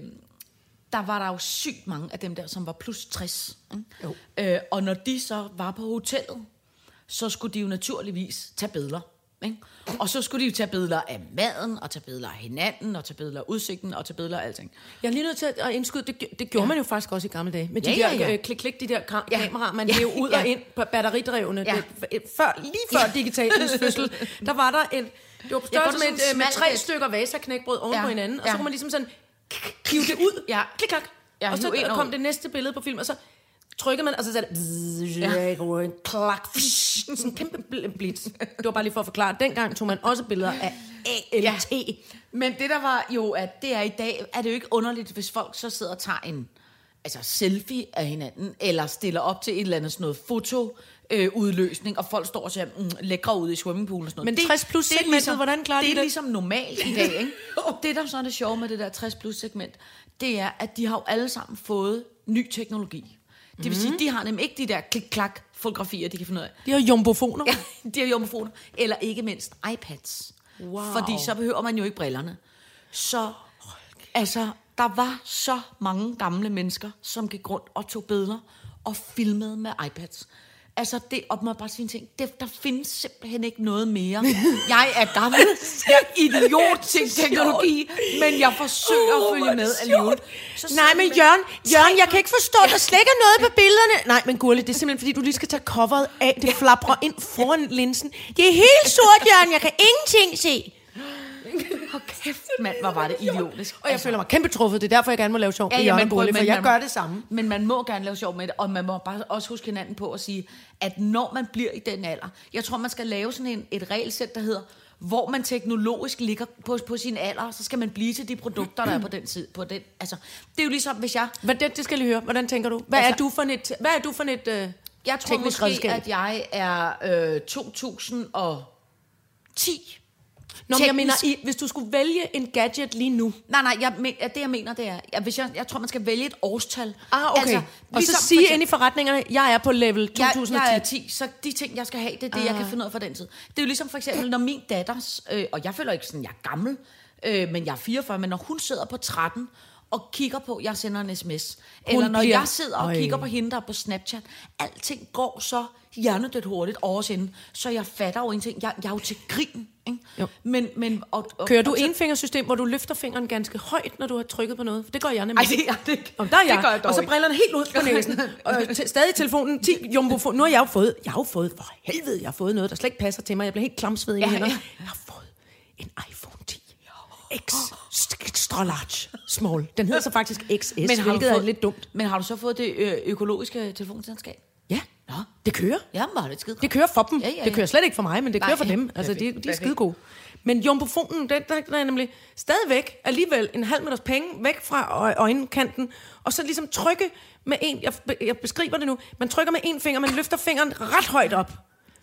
Speaker 4: der var der jo sygt mange af dem der, som var plus 60. ikke?
Speaker 3: Jo.
Speaker 4: Øh, og når de så var på hotellet, så skulle de jo naturligvis tage billeder. Ikke? Og så skulle de jo tage billeder af maden, og tage billeder af hinanden, og tage billeder af udsigten, og tage billeder af alting.
Speaker 3: Jeg er lige nødt til at at indskyde, det, gj- det gjorde ja. man jo faktisk også i gamle dage. Med de
Speaker 4: Ja,
Speaker 3: ja,
Speaker 4: ja,
Speaker 3: der
Speaker 4: ja.
Speaker 3: øh, klik-klik, de der ka-
Speaker 4: Ja.
Speaker 3: kameraer, man
Speaker 4: Ja,
Speaker 3: hævde ud
Speaker 4: ja.
Speaker 3: og ind på batteridrevne.
Speaker 4: Ja.
Speaker 3: Ja. Det, før, lige før ja. digitalens fødsel, der var der en... Det var på
Speaker 4: Ja, hvor
Speaker 3: størrelse
Speaker 4: der
Speaker 3: med,
Speaker 4: sådan
Speaker 3: et, øh, med
Speaker 4: smalt
Speaker 3: tre
Speaker 4: et-
Speaker 3: stykker vaserknækbrød oven
Speaker 4: Ja,
Speaker 3: på hinanden, og
Speaker 4: ja.
Speaker 3: så kunne man ligesom sådan hive det ud.
Speaker 4: Ja.
Speaker 3: Klik-klak.
Speaker 4: Ja,
Speaker 3: og så
Speaker 4: hiv ind og
Speaker 3: kom
Speaker 4: ud.
Speaker 3: det næste billede på film, og så trykkede man, og så sagde det... Ja. Klak. Sådan en kæmpe bl- blitz. Det var bare lige for at forklare. Dengang tog man også billeder af ALT. Ja.
Speaker 4: Men det der var jo, at det er i dag, er det jo ikke underligt, hvis folk så sidder og tager en altså selfie af hinanden, eller stiller op til et eller andet sådan noget foto, øh, udløsning, og folk står og ser mm, lækre ud i swimmingpoolen og sådan noget.
Speaker 3: Men 60 plus
Speaker 4: det er
Speaker 3: segmentet, hvordan klarer
Speaker 4: det?
Speaker 3: de
Speaker 4: Det er
Speaker 3: det?
Speaker 4: ligesom normalt i dag, ikke? Og det der så er det sjove med det der 60 plus segment, det er, at de har jo alle sammen fået ny teknologi. Det vil
Speaker 3: Mhm.
Speaker 4: sige, de har nemlig ikke de der klik-klak fotografier, de kan finde ud af.
Speaker 3: De har jumbofoner. Ja.
Speaker 4: Ja, de har jomfruer. Eller ikke mindst iPads.
Speaker 3: Wow.
Speaker 4: Fordi så behøver man jo ikke brillerne. Så, altså, der var så mange gamle mennesker, som gik rundt og tog billeder og filmede med iPads. Altså, det og man bare sige en ting. Det, der findes simpelthen ikke noget mere. Jeg er gammel. Jeg er idiot til teknologi, men jeg forsøger at følge med alligevel. Så
Speaker 3: Nej, men Jørgen, Jørgen, jeg kan ikke forstå, der slet ikke er noget på billederne. Nej, men Gurli, det er simpelthen, fordi du lige skal tage coveret af. Det flaprer ind foran linsen. Det er helt sort, Jørgen. Jeg kan ingenting se.
Speaker 4: Hold kæft, mand, hvor var det idiotisk.
Speaker 3: Og jeg føler mig kæmpe truffet. Det er derfor, jeg gerne må lave sjov med Jørgen og
Speaker 4: prøv,
Speaker 3: Gurli, for jeg
Speaker 4: man-
Speaker 3: gør det samme.
Speaker 4: Men man må gerne lave sjov med det, og man må bare også huske hinanden på at sige, at når man bliver i den alder, jeg tror, man skal lave sådan en, et regelsæt, der hedder, hvor man teknologisk ligger på, på sin alder, så skal man blive til de produkter, der er på den tid. På den, altså, det er jo ligesom, hvis jeg...
Speaker 3: Hvad, det, det skal jeg lige høre. Hvordan tænker du? Hvad altså, er
Speaker 4: Altså-
Speaker 3: du for et, hvad er du for et øh,
Speaker 4: Jeg tror
Speaker 3: teknisk redskab?
Speaker 4: måske, at jeg er øh, 2010.
Speaker 3: Nå, men jeg mener,
Speaker 4: teknisk-
Speaker 3: i, hvis du skulle vælge en gadget lige nu,
Speaker 4: Nej, nej, jeg, men, at det jeg mener, det er, at hvis jeg, jeg tror, man skal vælge et årstal.
Speaker 3: ah, okay. altså, og så
Speaker 4: ligesom for
Speaker 3: sige
Speaker 4: eksempel-
Speaker 3: ind i forretningerne, jeg er på level 2010.
Speaker 4: Jeg, jeg er 10, så de ting, jeg skal have, det er det, jeg
Speaker 3: Ah.
Speaker 4: kan finde ud af for den tid. Det er jo ligesom for eksempel, når min datters, øh, og jeg føler ikke sådan, jeg er gammel, øh, men jeg er 44, men når hun sidder på 13, og kigger på, jeg sender en sms. Eller når
Speaker 3: bliver-
Speaker 4: jeg sidder og
Speaker 3: Øj.
Speaker 4: kigger på hende, der er på Snapchat. Alting går så hjernedødt hurtigt over hende, så jeg fatter jo ingenting. Jeg, jeg er jo til grin. Ikke?
Speaker 3: Jo.
Speaker 4: Men, men, og, og,
Speaker 3: Kører du
Speaker 4: og så-
Speaker 3: enfingersystem, hvor du løfter fingeren ganske højt, når du har trykket på noget? For det gør jeg nemlig.
Speaker 4: Ej, det, det, det,
Speaker 3: Om der er jeg.
Speaker 4: det gør jeg dog
Speaker 3: og så
Speaker 4: ikke.
Speaker 3: brillerne helt ud på næsen. Og t- stadig telefonen. 10 jumbofon. Nu har jeg jo fået, jeg har jo fået, hvor helvede, jeg har fået noget, der slet ikke passer til mig. Jeg bliver helt klamsved i ja,
Speaker 4: Ja,
Speaker 3: hænder.
Speaker 4: ja.
Speaker 3: Jeg har fået en iPhone 10. X extra large small. Den hedder så faktisk XS, men
Speaker 4: har du
Speaker 3: hvilket er
Speaker 4: fået-
Speaker 3: lidt dumt.
Speaker 4: Men har du så fået det ø- økologiske telefonselskab?
Speaker 3: Ja, Nå. det kører.
Speaker 4: Jamen, var det skide
Speaker 3: Det kører for dem.
Speaker 4: Ja, ja, ja.
Speaker 3: Det kører slet ikke for mig, men det
Speaker 4: Nej,
Speaker 3: kører for
Speaker 4: ja.
Speaker 3: dem. Altså, de,
Speaker 4: Perfekt,
Speaker 3: de er
Speaker 4: perfekt.
Speaker 3: skide gode. Men jumbofonen, den, der, der er nemlig stadigvæk alligevel en halv meters penge væk fra ø- øjenkanten, og så ligesom trykke med en, jeg, jeg beskriver det nu, man trykker med en finger, man løfter fingeren ret højt op.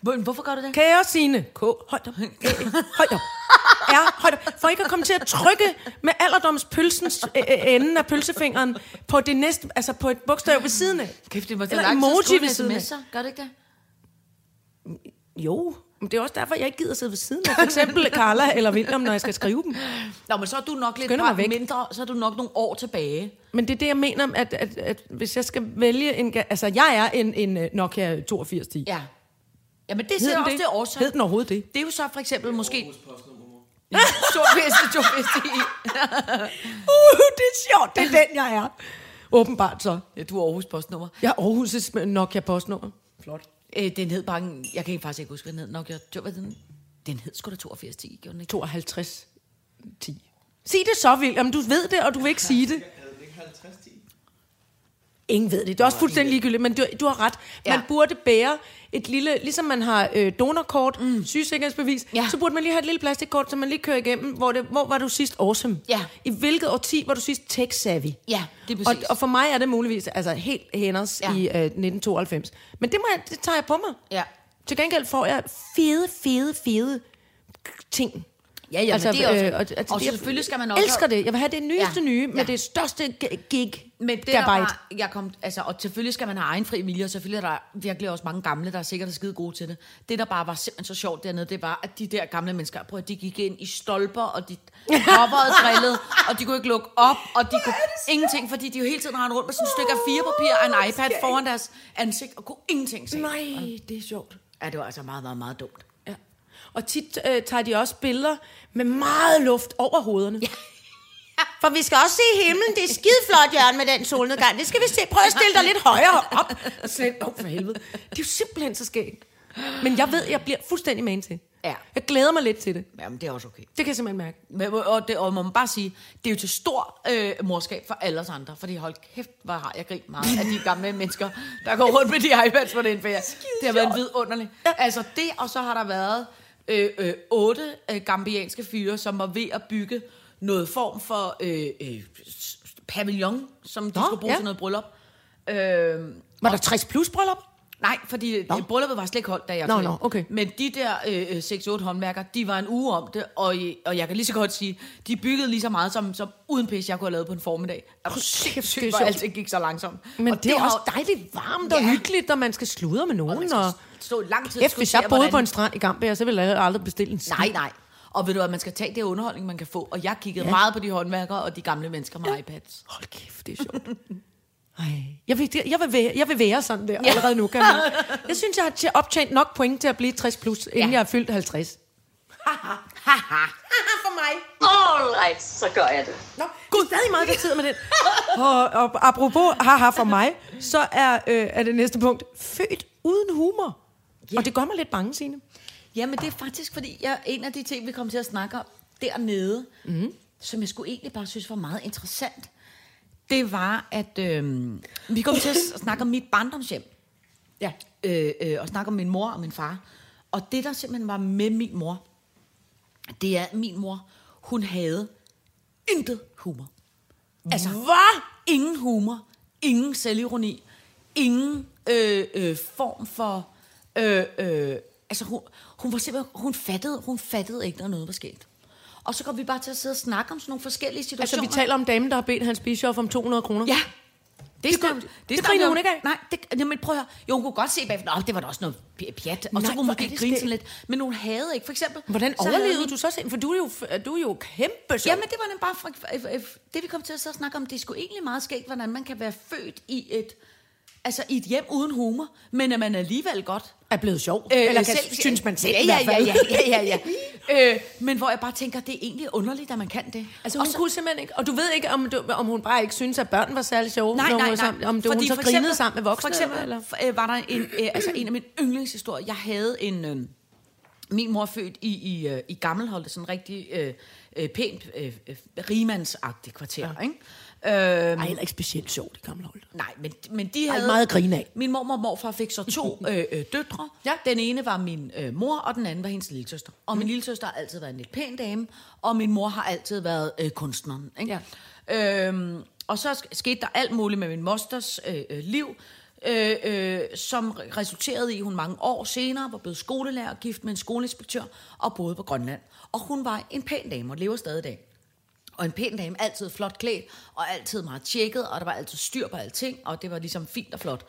Speaker 4: Men hvorfor gør du det?
Speaker 3: Kære Signe, K, højt op, Æ, højt op. Ja, højt op. For ikke at komme til at trykke med alderdomspølsens øh, øh, enden af pølsefingeren på det næste, altså på et bogstav ved siden af.
Speaker 4: Kæft, det var så
Speaker 3: Eller
Speaker 4: lang tid
Speaker 3: emoji
Speaker 4: siden
Speaker 3: ved
Speaker 4: af
Speaker 3: siden af.
Speaker 4: sms'er. Gør det ikke det?
Speaker 3: Jo, men det er også derfor, jeg ikke gider sidde ved siden af for eksempel Carla eller William, når jeg skal skrive dem.
Speaker 4: Nå, men så er du nok lidt
Speaker 3: Skynder mig
Speaker 4: par
Speaker 3: væk.
Speaker 4: mindre, så er du nok nogle år tilbage.
Speaker 3: Men det er det, jeg mener, at, at, at hvis jeg skal vælge en... ga- Altså, jeg er en, en øh, Nokia 8210.
Speaker 4: Ja. Jamen, det
Speaker 3: Hed
Speaker 4: ser
Speaker 3: den
Speaker 4: også
Speaker 3: det?
Speaker 4: det, årsag.
Speaker 3: Hed den overhovedet det?
Speaker 4: Det er jo så for eksempel måske... Ja, Så bedste, så bedste i.
Speaker 3: Uh, det er sjovt, det er den, jeg er. Åbenbart så.
Speaker 4: Ja, du er Aarhus postnummer.
Speaker 3: Jeg er Aarhus' Nokia postnummer. Flot.
Speaker 4: Øh, den hed bare... en- Jeg kan faktisk ikke huske, hvad den hed. Nok, jeg tog, hvad den... Den hed sgu da 8210, gjorde den ikke?
Speaker 3: 52 10. Sig det så, William. Du ved det, og du vil ikke sige det. Ingen ved det. Det er også fuldstændig ligegyldigt, men du, du har ret. Man
Speaker 4: Ja.
Speaker 3: burde bære et lille, ligesom man har øh, donorkort, mm. sygesikringsbevis, ja.
Speaker 4: Ja.
Speaker 3: så burde man lige have et lille plastikkort, som man lige kører igennem. Hvor, det, hvor var du sidst awesome?
Speaker 4: Ja.
Speaker 3: I hvilket årti var du sidst tech-savvy?
Speaker 4: Ja, det er
Speaker 3: Og,
Speaker 4: præcis.
Speaker 3: og for mig er det muligvis altså, helt hænders ja.
Speaker 4: Ja.
Speaker 3: i øh, 1992. Men det, må jeg, det tager jeg på mig.
Speaker 4: Ja.
Speaker 3: Til gengæld får jeg fede, fede, fede ting.
Speaker 4: Ja, ja, men det er også-
Speaker 3: altså,
Speaker 4: og
Speaker 3: det er-
Speaker 4: selvfølgelig skal man også-
Speaker 3: elsker det. Jeg vil have det nyeste ja.
Speaker 4: Ja.
Speaker 3: nye, med ja.
Speaker 4: Ja.
Speaker 3: det største g- gig.
Speaker 4: Men det der
Speaker 3: Gigabyte.
Speaker 4: var, jeg kom, altså, og selvfølgelig skal man have egen fri vilje, og selvfølgelig er der virkelig også mange gamle, der er sikkert er skide gode til det. Det, der bare var simpelthen så sjovt dernede, det var, at de der gamle mennesker, prøv at de gik ind i stolper, og de hoppede drillede, og de kunne ikke lukke op, og de kunne ingenting, fordi de jo hele tiden rendte rundt med sådan et stykke af fire papir og en iPad foran deres ansigt, og kunne ingenting se.
Speaker 3: Nej, det er sjovt.
Speaker 4: Ja, det var altså meget, meget, meget dumt.
Speaker 3: Ja. Og tit øh, tager de også billeder med meget luft over hovederne. Ja. For vi skal også se himlen. Det er skide flot, Jørgen, med den solnedgang. Det skal vi se. Prøv at stille dig lidt højere op. Og Slet, oh, for helvede. Det er jo simpelthen så skægt. Men jeg ved, jeg bliver fuldstændig man til.
Speaker 4: Ja.
Speaker 3: Jeg glæder mig lidt til det.
Speaker 4: Jamen, det er også okay.
Speaker 3: Det kan jeg simpelthen mærke.
Speaker 4: Men, og, det, og man må bare sige, det er jo til stor øh, morskab for alle os andre, fordi hold kæft, hvor har jeg grint meget af de gamle mennesker, der går rundt med de iPads på den ferie. Det har været vidunderligt. Ja. Altså det, og så har der været øh, øh, otte øh, gambianske fyre, som var ved at bygge noget form for øh, øh, s- s- pavillon, som de
Speaker 3: Nå,
Speaker 4: skulle bruge
Speaker 3: ja.
Speaker 4: ja. til noget bryllup. Øh,
Speaker 3: Var der 60 plus bryllup?
Speaker 4: Nej, fordi nå. brylluppet var slet ikke holdt, da jeg
Speaker 3: Nå,
Speaker 4: tog
Speaker 3: nå,
Speaker 4: ind.
Speaker 3: okay.
Speaker 4: Men de der øh, 6-8 håndværkere, de var en uge om det, og, øh, og jeg kan lige så godt sige, de byggede lige så meget, som, som uden pis, jeg kunne have lavet på en formiddag. Er du
Speaker 3: det er
Speaker 4: sindssygt, hvor
Speaker 3: sjovt.
Speaker 4: alt gik så langsomt.
Speaker 3: Men
Speaker 4: og
Speaker 3: det, det er
Speaker 4: har
Speaker 3: også
Speaker 4: jo-
Speaker 3: dejligt varmt og
Speaker 4: Ja.
Speaker 3: hyggeligt, når man skal sludre med
Speaker 4: og man
Speaker 3: nogen.
Speaker 4: skal
Speaker 3: Og
Speaker 4: stå i lang tid og
Speaker 3: Kæft, hvis jeg
Speaker 4: diskutere,
Speaker 3: boede
Speaker 4: hvordan-
Speaker 3: på en strand i Gambia, så ville jeg aldrig bestille en skid.
Speaker 4: Nej, nej. Og ved du hvad, man skal tage det underholdning, man kan få. Og jeg kiggede ja. meget på de håndværkere og de gamle mennesker med ja. iPads.
Speaker 3: Hold kæft, det er sjovt. Ej, jeg vil, jeg, vil være, jeg vil være sådan der ja. allerede nu, kan jeg. Jeg synes, jeg har tje- optjent nok point til at blive 60 plus, inden ja.
Speaker 4: Ja.
Speaker 3: jeg er fyldt 50.
Speaker 2: All right, så gør jeg det.
Speaker 3: Nå, Gud, stadig meget tid med den. og, og apropos haha for mig, så er, øh, er det næste punkt, født uden humor. Og det gør mig lidt bange, Signe.
Speaker 4: Jamen, det er faktisk, fordi jeg, en af de ting, vi kom til at snakke om dernede,
Speaker 3: Mhm.
Speaker 4: mm. som jeg skulle egentlig bare synes var meget interessant, det var, at øh, vi kom til at s- snakke om mit barndomshjem. Ja. Øh, øh, og snakke om min mor og min far. Og det, der simpelthen var med min mor, det er, at min mor, hun havde intet humor. Altså, hvad? Ingen humor, ingen selvironi, ingen øh, øh, form for... Øh, øh, altså, hun, hun var simpelthen... Hun fattede, hun fattede ikke, når noget var sket. Og så kom Altså, vi bare til at sidde og snakke om sådan nogle forskellige situationer.
Speaker 3: Altså, vi taler om damen, der har bedt Hans Bischof om 200 kroner.
Speaker 4: Ja. Det,
Speaker 3: Det
Speaker 4: snak-
Speaker 3: kunne- det
Speaker 4: snak-
Speaker 3: griner hun ikke af.
Speaker 4: Nej, det, jamen, prøv at høre. Jo, hun kunne godt se bagefter, "Nå, det var da også noget p- pjat. Og
Speaker 3: Nej,
Speaker 4: så kunne
Speaker 3: hvor
Speaker 4: hun
Speaker 3: er
Speaker 4: ikke
Speaker 3: det
Speaker 4: grine sådan
Speaker 3: skægt.
Speaker 4: lidt. Men hun havde ikke, for eksempel.
Speaker 3: Hvordan
Speaker 4: så havde
Speaker 3: overlevede
Speaker 4: vi-
Speaker 3: du så sen? For du er jo, f- du er jo kæmpe sjov.
Speaker 4: Jamen, det var den bare... Fra, øh, øh, det vi kom til at sidde og snakke om, det er sgu egentlig meget skægt, hvordan man kan være født i et... Altså i et hjem uden humor, men at man alligevel godt
Speaker 3: er blevet sjov. Øh, Eller kan, selv, synes man selv
Speaker 4: ja,
Speaker 3: i
Speaker 4: ja,
Speaker 3: hvert fald.
Speaker 4: Ja, ja, ja, ja. øh, men hvor jeg bare tænker, det er egentlig underligt, at man kan det.
Speaker 3: Altså, hun
Speaker 4: Og så-
Speaker 3: kunne simpelthen ikke, og du ved ikke, om, du, om hun bare ikke synes, at børn var særlig sjove,
Speaker 4: Nej,
Speaker 3: når hun
Speaker 4: nej,
Speaker 3: var
Speaker 4: nej.
Speaker 3: sammen, om det, hun så
Speaker 4: for
Speaker 3: grinede sammen med voksne.
Speaker 4: For eksempel
Speaker 3: eller?
Speaker 4: eller? Øh, var der en, øh, altså en af mine yndlingshistorier. Jeg havde en... Øh, min mor er født i, i, øh, i Gammelholdet, sådan en rigtig øh, øh, pænt, øh, øh, rimandsagtigt kvarter, ja. ikke? Øh,
Speaker 3: Ej, heller ikke specielt sjovt, det gamle hold.
Speaker 4: Nej, men, men de
Speaker 3: Ej,
Speaker 4: havde...
Speaker 3: meget at grine af.
Speaker 4: Min mormor og morfar fik så to øh, øh, døtre.
Speaker 3: Ja. Mm.
Speaker 4: Den ene var min øh, mor, og den anden var hendes lille søster. Og min lille søster har altid været en lidt pæn dame, og min mor har altid været øh, kunstneren. Ikke? Ja. Øhm, og så sk- skete der alt muligt med min mosters øh, øh, liv, øh, øh, som re- resulterede i, at hun mange år senere var blevet skolelærer, gift med en skoleinspektør og boede på Grønland. Og hun var en pæn dame og lever stadig i dag. Og en pæn dame, altid flot klædt, og altid meget tjekket, og der var altid styr på alting, og det var ligesom fint og flot.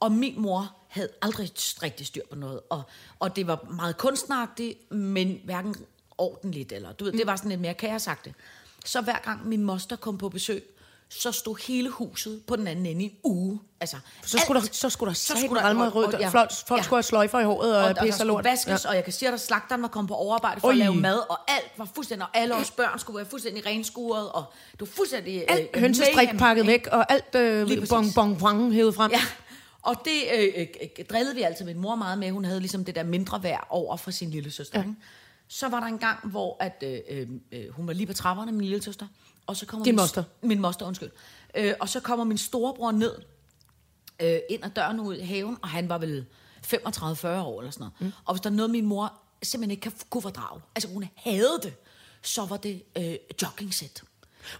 Speaker 4: Og min mor havde aldrig rigtig styr på noget, og, og det var meget kunstneragtigt, men hverken ordentligt, eller du ved,
Speaker 3: Mm.
Speaker 4: det var sådan lidt mere kaosagtigt. Så hver gang min moster kom på besøg, så stod hele huset på den anden ende i en uge. Altså,
Speaker 3: Så skulle,
Speaker 4: alt-
Speaker 3: der, så skulle der så
Speaker 4: skulle
Speaker 3: skulle
Speaker 4: der-
Speaker 3: der alme
Speaker 4: og- og-
Speaker 3: rødt,
Speaker 4: ja.
Speaker 3: og folk, folk
Speaker 4: Ja.
Speaker 3: skulle have sløjfer i håret og,
Speaker 4: og,
Speaker 3: og
Speaker 4: og der
Speaker 3: pisse og
Speaker 4: skulle
Speaker 3: lort.
Speaker 4: vaskes, ja. og jeg kan sige, at der slagteren var kommet på overarbejde for Oi.
Speaker 3: Oj.
Speaker 4: at lave mad, og alt var fuldstændig, og alle vores børn skulle være fuldstændig renskuret, og det var fuldstændig... øh,
Speaker 3: Alt
Speaker 4: øh,
Speaker 3: hønsestrik
Speaker 4: mayhem,
Speaker 3: pakket
Speaker 4: ikke?
Speaker 3: væk, og alt øh,
Speaker 4: Lige præcis.
Speaker 3: bon, bon, bon, hævet frem.
Speaker 4: Ja, og det øh, øh, øh, drillede vi altid min mor meget med. Hun havde ligesom det der mindre værd over for sin lille søster. Ja. Så var der en gang, hvor at, øh, øh, øh, hun var lige på trapperne, min lille søster. Og så kommer
Speaker 3: Din
Speaker 4: min,
Speaker 3: moster.
Speaker 4: Min moster, undskyld. Øh, og så kommer min storebror ned, øh, ind ad døren og ud i haven, og han var vel 35-40 år eller sådan noget. Mm. Og hvis der er noget, min mor simpelthen ikke kan, kunne fordrage, altså hun havde det, så var det øh, jogging-sæt.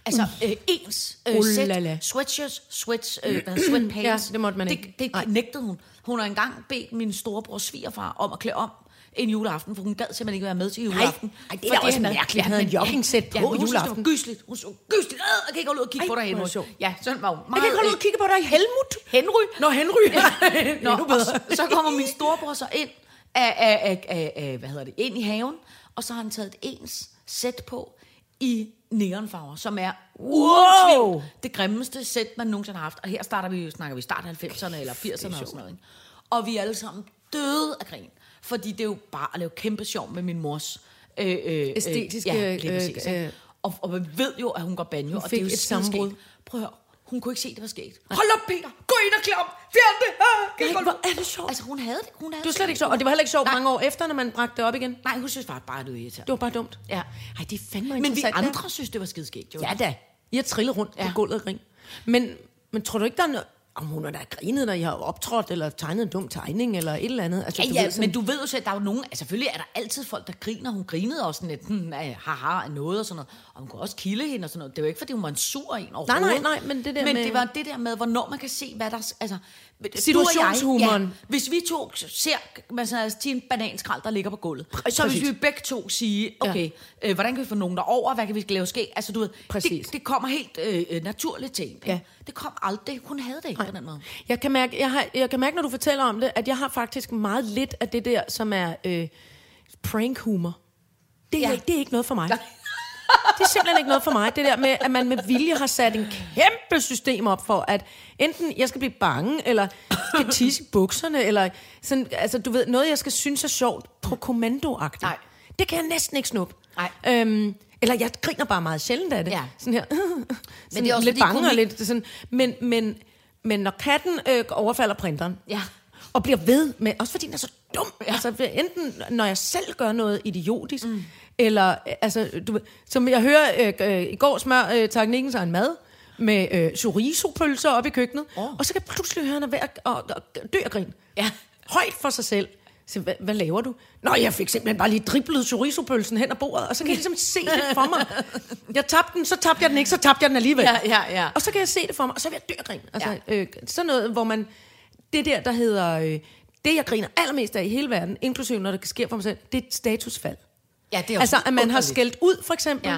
Speaker 4: Altså øh, ens øh,
Speaker 3: Oh la la.
Speaker 4: sæt, sweatshirts, sweats, øh, hvad hedder, sweatpants.
Speaker 3: Ja, det måtte man ikke.
Speaker 4: Det, det nægtede hun. Hun har engang bedt min storebror svigerfar om at klæde om en juleaften, for hun gad simpelthen ikke være med til juleaften.
Speaker 3: ej, det er da
Speaker 4: Fordi
Speaker 3: også
Speaker 4: han-
Speaker 3: mærkeligt, han havde
Speaker 4: men-
Speaker 3: en joggingsæt
Speaker 4: ja,
Speaker 3: på
Speaker 4: hun synes,
Speaker 3: juleaften.
Speaker 4: det var gysligt. Hun så gysligt. Ad, jeg kan ikke holde ud og kigge
Speaker 3: Ej,
Speaker 4: på dig,
Speaker 3: hvor er
Speaker 4: Henry.
Speaker 3: det sjovt.
Speaker 4: Ja, sådan var hun.
Speaker 3: Jeg kan ikke holde ud og kigge på dig, Helmut.
Speaker 4: Henry.
Speaker 3: Nå, Henry.
Speaker 4: Nå,
Speaker 3: Endnu
Speaker 4: og
Speaker 3: bedre.
Speaker 4: så, så kommer min storebror så ind, af, af, af, af, af, hvad hedder det, ind i haven, og så har han taget et ens sæt på i neonfarver, som er
Speaker 3: Wow!
Speaker 4: wow! det grimmeste sæt, man nogensinde har haft. Og her starter vi, snakker vi start 90'erne eller 80'erne og sådan noget. Ikke? Og vi er alle sammen døde af grin, fordi det er jo bare at lave kæmpe sjov med min mors øh, øh, øh,
Speaker 3: Æstetiske,
Speaker 4: ja, lige
Speaker 3: øh,
Speaker 4: præcis, ikke?
Speaker 3: øh,
Speaker 4: og, og man ved jo, at hun går banjo, og det
Speaker 3: fik
Speaker 4: er jo
Speaker 3: et
Speaker 4: skideskægt.
Speaker 3: sammenbrud.
Speaker 4: Prøv at høre, hun kunne ikke se, det var sket. Hold op, Peter! Gå ind og klæd om! Fjern det! Ah, kan
Speaker 3: Nej,
Speaker 4: ikke holde
Speaker 3: hvor
Speaker 4: ud.
Speaker 3: er det sjovt.
Speaker 4: Altså, hun havde det. Hun havde
Speaker 3: Det var
Speaker 4: det.
Speaker 3: slet ikke sjovt, og det var heller ikke sjovt mange år efter, når man bragte det op igen.
Speaker 4: Nej, hun synes bare, bare det var irriterende.
Speaker 3: Det var bare dumt.
Speaker 4: Ja.
Speaker 3: Ej, det er fandme
Speaker 4: Men vi
Speaker 3: interessant. hva'?
Speaker 4: andre synes, det var skideskægt, jo.
Speaker 3: Ja da. I har trillet rundt ja.
Speaker 4: Ja.
Speaker 3: på gulvet og grin. Men, men tror du ikke, der er noget... Om hun har da grinet, når I har optrådt, eller tegnet en dum tegning, eller et eller andet. Altså,
Speaker 4: Ja,
Speaker 3: du
Speaker 4: ja,
Speaker 3: ved, sådan,
Speaker 4: men du ved jo selv, der er jo nogen, altså selvfølgelig er der altid folk, der griner. Hun grinede også sådan lidt, hmm, af haha, af noget og sådan noget. Og hun kunne også kilde hende og sådan noget. Det var ikke, fordi hun var en sur en overhovedet.
Speaker 3: nej, men det der
Speaker 4: men
Speaker 3: med-
Speaker 4: det var det der med, hvornår man kan se, hvad der... Altså, du og jeg,
Speaker 3: Situationshumoren.
Speaker 4: Ja, hvis vi to ser altså, altså, til en bananskrald, der ligger på gulvet, så hvis
Speaker 3: Præcis.
Speaker 4: vi begge to sige, okay, ja. øh, hvordan kan vi få nogen derover, hvad kan vi lave ske? Altså, du ved,
Speaker 3: Præcis.
Speaker 4: det, det kommer helt øh, øh, naturligt til en. ikke?
Speaker 3: Ja.
Speaker 4: Det kom aldrig. Hun havde det ikke på den måde.
Speaker 3: Jeg kan, mærke, jeg, har, jeg kan mærke, når du fortæller om det, at jeg har faktisk meget lidt af det der, som er øh, prank humor. Det er,
Speaker 4: Ja.
Speaker 3: ja. det er ikke noget for mig. Det er simpelthen ikke noget for mig, det der med, at man med vilje har sat en kæmpe system op for, at enten jeg skal blive bange, eller skal tisse i bukserne, eller sådan, altså du ved, noget jeg skal synes er sjovt på kommando
Speaker 4: Nej.
Speaker 3: Det kan jeg næsten ikke snuppe.
Speaker 4: Nej.
Speaker 3: Øhm, eller jeg griner bare meget sjældent af det.
Speaker 4: Ja.
Speaker 3: Sådan her. sådan men
Speaker 4: det er også
Speaker 3: lidt
Speaker 4: fordi
Speaker 3: bange og
Speaker 4: komik-
Speaker 3: lidt sådan. Men, men, men når katten øh, overfalder printeren,
Speaker 4: Ja.
Speaker 3: og bliver ved med, også fordi den er så dum, ja. altså enten når jeg selv gør noget idiotisk, mm. eller øh, altså, du, ved, som jeg hører øh, øh, i går smør øh, teknikken sig en mad, med øh, chorizo-pølser op i køkkenet, oh. og så kan jeg pludselig høre, han er ved at og, og, dø af grin.
Speaker 4: Ja.
Speaker 3: Højt for sig selv. Så, hvad, hvad laver du? Nå, jeg fik simpelthen bare lige driblet chorizo-pølsen hen ad bordet, og så kan jeg ligesom se det for mig. Jeg tabte den, så tabte jeg den ikke, så tabte jeg den alligevel.
Speaker 4: Ja, ja, ja.
Speaker 3: Og så kan jeg se det for mig, og så vil jeg dø af grin. Altså,
Speaker 4: Ja.
Speaker 3: ja. øh, sådan noget, hvor man... Det der, der hedder... Øh, det, jeg griner allermest af i hele verden, inklusive når det sker for mig selv, det er et statusfald.
Speaker 4: Ja, det er også
Speaker 3: Altså, at man har
Speaker 4: underligt.
Speaker 3: skældt ud, for eksempel.
Speaker 4: Ja.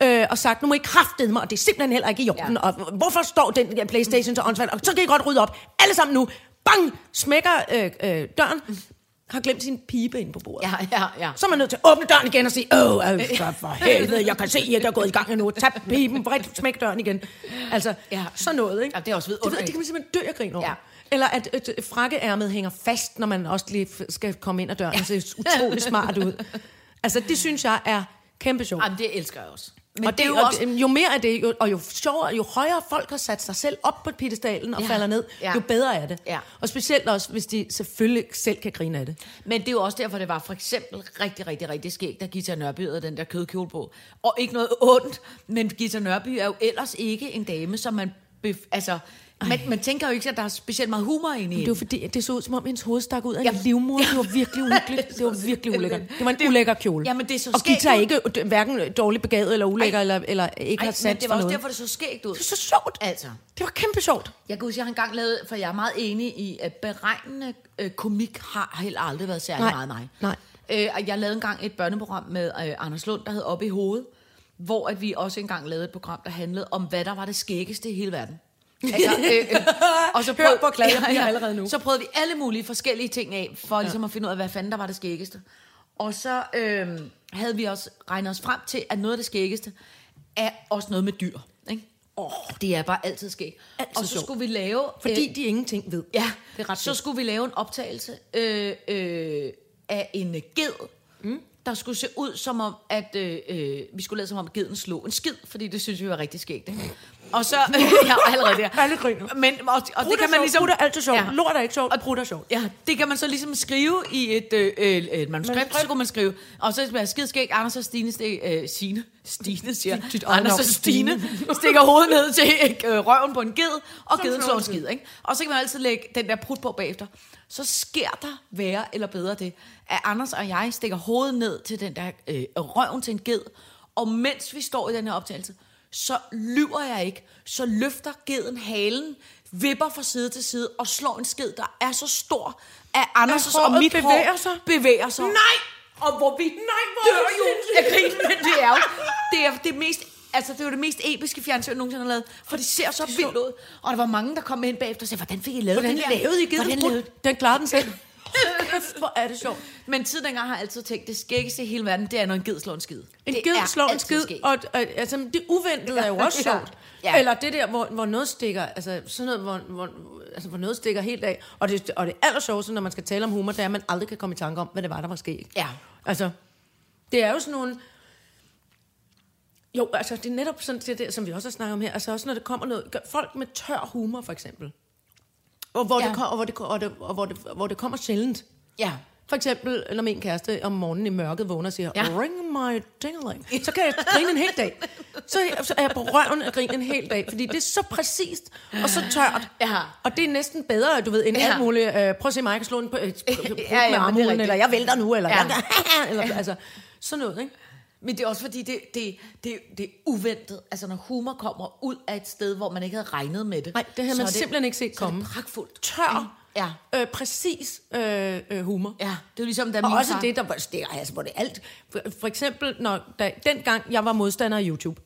Speaker 3: Ja. øh, og sagt, nu må I kraftede mig, og det er simpelthen heller ikke i orden. Ja.
Speaker 4: Ja.
Speaker 3: Og hvorfor står den der Playstation så åndssvagt? Og så kan I godt rydde op. Alle sammen nu. Bang! Smækker øh, øh, døren. Har glemt sin pibe ind på bordet.
Speaker 4: Ja, ja, ja.
Speaker 3: Så er man nødt til at åbne døren igen og sige, åh, øh, for, for helvede, jeg kan se, at der er gået i gang nu. Tag pipen, bredt, smæk døren igen. Altså,
Speaker 4: Ja.
Speaker 3: ja. sådan noget, ikke?
Speaker 4: Ja, det er også
Speaker 3: det, ved,
Speaker 4: vidunderligt.
Speaker 3: det kan man simpelthen dø af grin over.
Speaker 4: Ja.
Speaker 3: Ja. Eller at øh, t- frakkeærmet hænger fast, når man også lige f- skal komme ind ad døren. Ja. Altså, det ser utrolig smart ud. Altså, det synes jeg er kæmpe sjovt.
Speaker 4: Jamen, det elsker jeg også. Men
Speaker 3: Men og det,
Speaker 4: er
Speaker 3: jo,
Speaker 4: jo
Speaker 3: og
Speaker 4: også...
Speaker 3: det, jo mere af det, jo, og jo sjovere, jo højere folk har sat sig selv op på piedestalen og
Speaker 4: Ja.
Speaker 3: ja. falder ned,
Speaker 4: Ja.
Speaker 3: ja. jo bedre er det.
Speaker 4: Ja.
Speaker 3: Og specielt også, hvis de selvfølgelig selv kan grine af det.
Speaker 4: Men det er jo også derfor, det var for eksempel rigtig, rigtig, rigtig skægt, at Gita Nørby havde den der kødkjole på. Og ikke noget ondt, men Gita Nørby er jo ellers ikke en dame, som man... Bef- altså, man, man tænker jo ikke, at der er specielt meget humor inde i
Speaker 3: Det var fordi, at det så ud som om, hendes hoved stak ud af
Speaker 4: Ja.
Speaker 3: en livmor. Det var virkelig uhyggeligt. Det var virkelig ulækkert. Det var en ulækker kjole.
Speaker 4: Jamen, det er så
Speaker 3: og
Speaker 4: skægt
Speaker 3: Gita er
Speaker 4: ud.
Speaker 3: ikke øh, hverken dårligt begavet eller ulækker,
Speaker 4: Ej.
Speaker 3: eller, eller ikke har
Speaker 4: Ej, men
Speaker 3: sat
Speaker 4: det
Speaker 3: for
Speaker 4: var også
Speaker 3: noget.
Speaker 4: derfor, det så skægt ud.
Speaker 3: Det var så sjovt.
Speaker 4: Altså.
Speaker 3: Det var kæmpe sjovt.
Speaker 4: Jeg kan huske, jeg har engang lavet, for jeg er meget enig i, at beregnende øh, komik har heller aldrig været særlig
Speaker 3: Nej,
Speaker 4: meget mig.
Speaker 3: nej.
Speaker 4: Øh, og jeg lavede engang et børneprogram med øh, Anders Lund, der hed Oppe i hovedet, hvor at vi også engang lavede et program, der handlede om, hvad der var det skæggeste i hele verden. Altså, øh, øh, og så
Speaker 3: Hør, hvor glad jeg bliver allerede nu.
Speaker 4: Så prøvede vi alle mulige forskellige ting af, for ligesom at finde ud af, hvad fanden der var det skæggeste. Og så øh, havde vi også regnet os frem til, at noget af det skæggeste er også noget med dyr. Ikke? Oh, det er bare altid skægt.
Speaker 3: Altid
Speaker 4: Og så
Speaker 3: sjovt.
Speaker 4: skulle vi lave...
Speaker 3: Fordi
Speaker 4: øh,
Speaker 3: de ingenting ved.
Speaker 4: ja,
Speaker 3: Det er ret
Speaker 4: så
Speaker 3: så,
Speaker 4: skulle vi lave en optagelse øh, øh, af en øh, ged, mm. der skulle se ud som om, at øh, øh, vi skulle lade som om, at geden slog en skid, fordi det synes vi var rigtig skægt. ikke? Og så... Øh, jeg er allerede der.
Speaker 3: Alle griner.
Speaker 4: Men, og, og det
Speaker 3: Brudt
Speaker 4: kan
Speaker 3: er
Speaker 4: man
Speaker 3: sjovt,
Speaker 4: ligesom...
Speaker 3: brudt er altid sjovt.
Speaker 4: Ja.
Speaker 3: Lort er ikke sjovt, og brudt er sjovt.
Speaker 4: Ja, det kan man så ligesom skrive i et, øh, øh, et manuskript, så kunne man skrive. Og så bliver skidskæg, Anders og Stine, stik, øh, Signe, Stine siger,
Speaker 3: Dit
Speaker 4: Anders og
Speaker 3: navn,
Speaker 4: Stine, stikker hovedet ned til øh, røven på en ged, og geden slår
Speaker 3: slår
Speaker 4: en
Speaker 3: en
Speaker 4: skid, ikke? Og så kan man altid lægge den der prut på bagefter. Så sker der værre eller bedre det, at Anders og jeg stikker hovedet ned til den der øh, røven til en ged, og mens vi står i den her optagelse, så lyver jeg ikke, så løfter geden halen, vipper fra side til side og slår en sked, der er så stor, at Anders' og
Speaker 3: håret
Speaker 4: mit hår
Speaker 3: bevæger sig?
Speaker 4: bevæger sig.
Speaker 3: Nej!
Speaker 4: Og hvor vi Nej,
Speaker 3: hvor er
Speaker 4: dør
Speaker 3: det
Speaker 4: jo
Speaker 3: sindssygt!
Speaker 4: af grin, men det er jo det, er det mest Altså, det var det mest episke fjernsyn, jeg nogensinde har lavet, for det ser så vildt ud. Og der var mange, der kom ind bagefter og sagde, hvordan fik I lavet
Speaker 3: Hvordan
Speaker 4: den der?
Speaker 3: lavede I
Speaker 4: Hvordan
Speaker 3: givet
Speaker 4: lavede
Speaker 3: brudt? Den klarer den selv. Kæft, hvor er det sjovt.
Speaker 4: Men tid dengang har jeg altid tænkt, det skæggeste i hele verden, det er, når en ged slår en skid.
Speaker 3: En
Speaker 4: Det er
Speaker 3: ged slår en
Speaker 4: altid
Speaker 3: skid,
Speaker 4: skægt.
Speaker 3: og, og altså, det uventede er jo også
Speaker 4: Ja.
Speaker 3: sjovt.
Speaker 4: Ja.
Speaker 3: Ja. Eller det der, hvor, hvor noget stikker, altså sådan noget, hvor, hvor, altså, hvor noget stikker helt af. Og det, og det allersjoveste, når man skal tale om humor, det er, at man aldrig kan komme i tanke om, hvad det var, der var sket.
Speaker 4: Ja.
Speaker 3: Altså, det er jo sådan nogle... Jo, altså det er netop sådan det, der, som vi også har snakket om her. Altså også når det kommer noget... gør- Folk med tør humor, for eksempel. Og hvor,
Speaker 4: Ja.
Speaker 3: det, kom- og hvor, det, og det, og hvor, det, hvor det kommer sjældent.
Speaker 4: Ja.
Speaker 3: For eksempel, når min kæreste om morgenen i mørket vågner og siger,
Speaker 4: Ja.
Speaker 3: ja. ring my dingeling, så kan jeg grine en hel dag. Så, er jeg- så er jeg på røven og grine en hel dag, fordi det er så præcist og så tørt.
Speaker 4: Ja.
Speaker 3: Og det er næsten bedre, du ved, end
Speaker 4: Ja.
Speaker 3: ja. alt muligt. Øh, prøv at se mig, jeg kan slå en på, øh, på,
Speaker 4: Ja, ja, men det
Speaker 3: med
Speaker 4: er rigtigt.
Speaker 3: armhulen, eller jeg vælter nu, eller,
Speaker 4: Ja.
Speaker 3: ja. jeg, eller altså, sådan noget, ikke?
Speaker 4: Men det er også fordi, det, det, det, det er uventet. Altså, når humor kommer ud af et sted, hvor man ikke havde regnet med det.
Speaker 3: Nej, det havde
Speaker 4: så
Speaker 3: man
Speaker 4: er
Speaker 3: simpelthen ikke set
Speaker 4: så er det
Speaker 3: komme.
Speaker 4: pragtfuldt.
Speaker 3: Tør,
Speaker 4: Ja.
Speaker 3: øh, præcis øh, øh, humor.
Speaker 4: Ja, det er jo ligesom, da
Speaker 3: Og
Speaker 4: min
Speaker 3: også
Speaker 4: far...
Speaker 3: det, der var, det, er- altså, hvor det er alt. For, for eksempel, når, da, dengang jeg var modstander af YouTube.